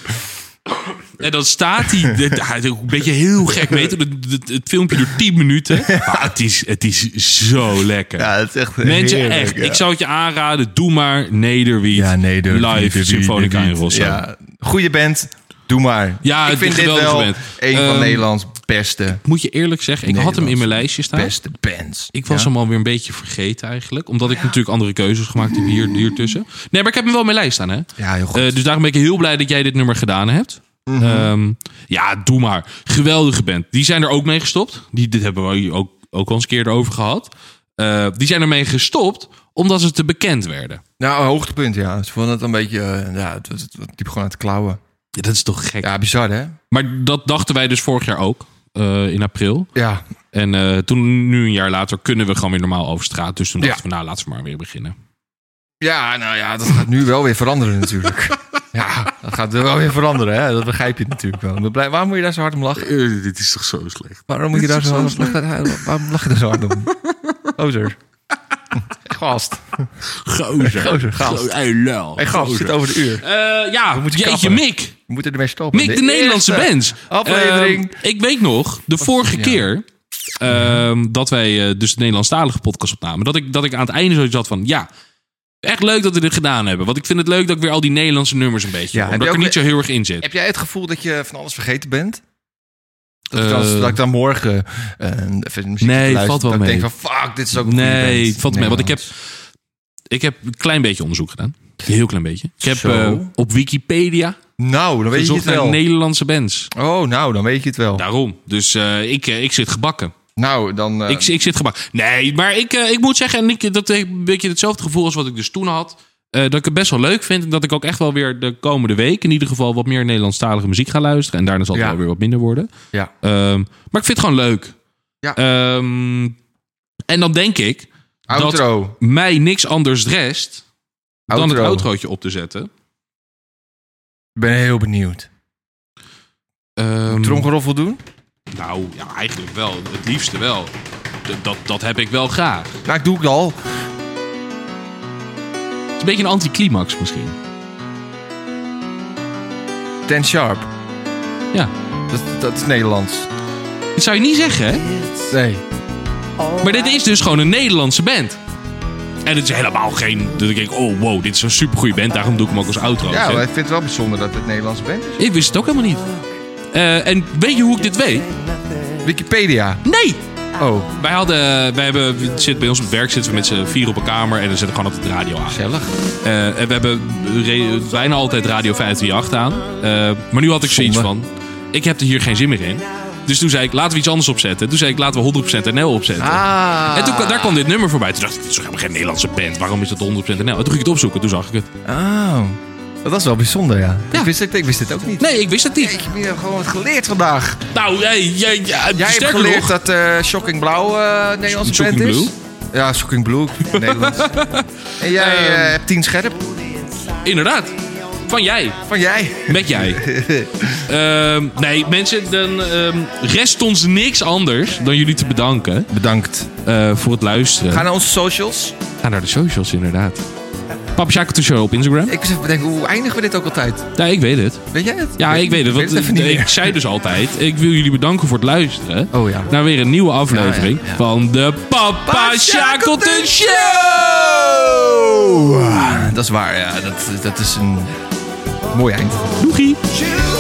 S1: En dan staat hij, dit- hij doet een beetje heel gek mee. Het, het, het filmpje duurt 10 minuten. Maar het is, het is zo lekker.
S2: Ja, het is echt
S1: Mensen,
S2: heerlijk,
S1: echt.
S2: ja.
S1: Ik zou het je aanraden. Doe maar Nederwiet.
S2: Ja, nee, durf niet, durf
S1: Live
S2: niet,
S1: Symfonica
S2: durf
S1: in
S2: niet.
S1: Rosso.
S2: Ja, goede band. Doe maar.
S1: Ja,
S2: ik
S1: het
S2: vind
S1: is
S2: dit
S1: een geweldige
S2: wel
S1: band.
S2: een van
S1: Ehm,
S2: Nederlands beste,
S1: Moet je eerlijk zeggen, ik had hem in mijn lijstje staan.
S2: beste bands.
S1: Ik was
S2: Ja?
S1: hem alweer een beetje vergeten eigenlijk. Omdat ik natuurlijk andere keuzes gemaakt heb hier, hier tussen. Nee, maar ik heb hem wel in mijn lijst staan, hè?
S2: Ja, heel goed.
S1: Eh, dus daarom ben ik heel blij dat jij dit nummer gedaan hebt. Ehm, ja, doe maar. Geweldige band. Die zijn er ook mee gestopt. Die, dit hebben we hier ook, ook al eens een keer over gehad. Eh, die zijn ermee gestopt omdat ze te bekend werden.
S2: Nou, een hoogtepunt, ja. Ze vonden het een beetje... eh, ja, het, het, het liep gewoon aan het klauwen.
S1: Ja, dat is toch gek.
S2: Ja, bizar, hè?
S1: Maar dat dachten wij dus vorig jaar ook. eh, in april.
S2: Ja,
S1: En eh, toen, nu een jaar later, kunnen we gewoon weer normaal over straat. Dus toen
S2: Ja.
S1: dachten we, nou, laten we maar weer beginnen.
S2: Ja, nou ja, dat gaat nu wel weer veranderen natuurlijk. ja, dat gaat wel weer veranderen, hè? dat begrijp je natuurlijk wel. Ik ben blij- Waarom moet je daar zo hard om lachen?
S1: dit is toch zo slecht?
S2: Waarom moet je daar zo hard om lachen? Waarom lach je daar zo hard om? Gozer. Gast.
S1: Gozer.
S2: Gozer, gast.
S1: Gozer, ey, lul.
S2: Hey, gast, zit over de uur.
S1: Eh, ja,
S2: moeten
S1: jeetje
S2: kappen.
S1: Mick.
S2: We moeten ermee stoppen.
S1: Mick, de, Nederlandse
S2: eerste
S1: bands.
S2: aflevering.
S1: Ehm, ik weet nog, de vorige
S2: Ja.
S1: keer ehm, dat wij eh, dus de Nederlandstalige podcast opnamen. Dat ik, dat ik aan het einde zoiets had van, ja, echt leuk dat we dit gedaan hebben. Want ik vind het leuk dat ik weer al die Nederlandse nummers een beetje
S2: Ja,
S1: hoor,
S2: heb
S1: Omdat
S2: je
S1: ik er
S2: ook
S1: niet zo heel erg in zit.
S2: Heb jij het gevoel dat je van alles vergeten bent? Dat, ik
S1: Eh,
S2: dan, dat ik dan morgen eh, even muziek
S1: Nee,
S2: zit te luisteren,
S1: valt wel
S2: dat
S1: mee.
S2: ik denk van fuck, dit is ook een goede
S1: Nee,
S2: band.
S1: het valt mee. Want ik heb,
S2: Nederlands.
S1: ik heb een klein beetje onderzoek gedaan. Een heel klein beetje. Ik heb
S2: Zo.
S1: eh, op Wikipedia
S2: Nou, dan weet je het
S1: gezocht
S2: wel.
S1: naar Nederlandse bands.
S2: Oh, nou, dan weet je het wel.
S1: Daarom. Dus eh, ik, eh, ik zit gebakken.
S2: Nou, dan... eh,
S1: Ik, ik zit gebakken. Nee, maar ik, eh, ik moet zeggen, en ik, dat heeft een beetje hetzelfde gevoel als wat ik dus toen had. eh, dat ik het best wel leuk vind. En dat ik ook echt wel weer de komende week in ieder geval wat meer Nederlandstalige muziek ga luisteren. En daarna zal het
S2: Ja.
S1: wel weer wat minder worden.
S2: Ja.
S1: Ehm, maar ik vind het gewoon leuk.
S2: Ja.
S1: Ehm, en dan denk ik dat
S2: Outro.
S1: mij niks anders rest dan het outrootje op te zetten.
S2: Ik ben heel benieuwd.
S1: Ehm,
S2: Tromgeroffel doen?
S1: nou, ja, eigenlijk wel. Het liefste wel. D- Dat, dat heb ik wel graag. Het
S2: Nou, ik doe het al.
S1: is een beetje een anticlimax misschien.
S2: Ten Sharp.
S1: Ja.
S2: Dat, dat is Nederlands.
S1: Dat zou je niet zeggen, hè?
S2: Nee.
S1: Maar dit is dus gewoon een Nederlandse band. En het is helemaal geen... Dat ik denk, oh wow, dit is een supergoeie band. Daarom doe ik hem ook als outro.
S2: Ja,
S1: Hè?
S2: maar ik vind het wel bijzonder dat het Nederlands bent.
S1: Ik wist het ook helemaal niet. Eh, en weet je hoe ik dit weet?
S2: Wikipedia.
S1: Nee!
S2: Oh,
S1: Wij hadden... Wij hebben, zit, bij ons op het werk zitten we met z'n vier op een kamer. En dan zetten we gewoon altijd de radio aan.
S2: gezellig.
S1: Eh, en we hebben re- bijna altijd Radio 538 aan. Eh, maar nu had ik zoiets
S2: Zonde.
S1: van... Ik heb er hier geen zin meer in. Dus toen zei ik, laten we iets anders opzetten. Toen zei ik, laten we 100% NL opzetten.
S2: Ah.
S1: En toen, daar kwam dit nummer voorbij. Toen dacht ik, dit is toch helemaal geen Nederlandse band. Waarom is dat 100% NL? En toen ging ik het opzoeken. Toen zag ik het.
S2: Oh. Dat was wel bijzonder, ja.
S1: Ja.
S2: Ik, wist, het- ik wist het ook niet.
S1: Nee, ik wist het niet.
S2: Ik heb gewoon wat geleerd vandaag.
S1: Nou, hey, jij, jij,
S2: Jij hebt
S1: sterker
S2: geleerd
S1: nog,
S2: dat eh, Shocking Blauw eh Nederlands
S1: Shocking
S2: band is.
S1: Blue? Ehm.
S2: Ja, Shocking Blue. Nederlands. en jij eh, hebt tien scherp. eh.
S1: Inderdaad. Van jij.
S2: Van jij.
S1: Met jij. Ehm, nee, mensen, dan ehm, rest ons niks anders dan jullie te bedanken
S2: Bedankt.
S1: eh, voor het luisteren.
S2: Ga naar onze socials.
S1: Ga naar de socials, inderdaad. Papa Sjaak de Show op Instagram.
S2: Ik was even bedenken, hoe eindigen we dit ook altijd?
S1: Ja, ik weet het.
S2: Weet jij het?
S1: Ja, ik weet het. Want
S2: het even niet
S1: ik
S2: meer.
S1: zei dus altijd, ik wil jullie bedanken voor het luisteren.
S2: Oh ja.
S1: Naar weer een nieuwe aflevering
S2: Ja, ja, ja.
S1: van de Papa Shackleton Show.
S2: Show! Dat is waar, ja. Dat, dat is een mooi eind.
S1: Doegie.
S4: You Oh,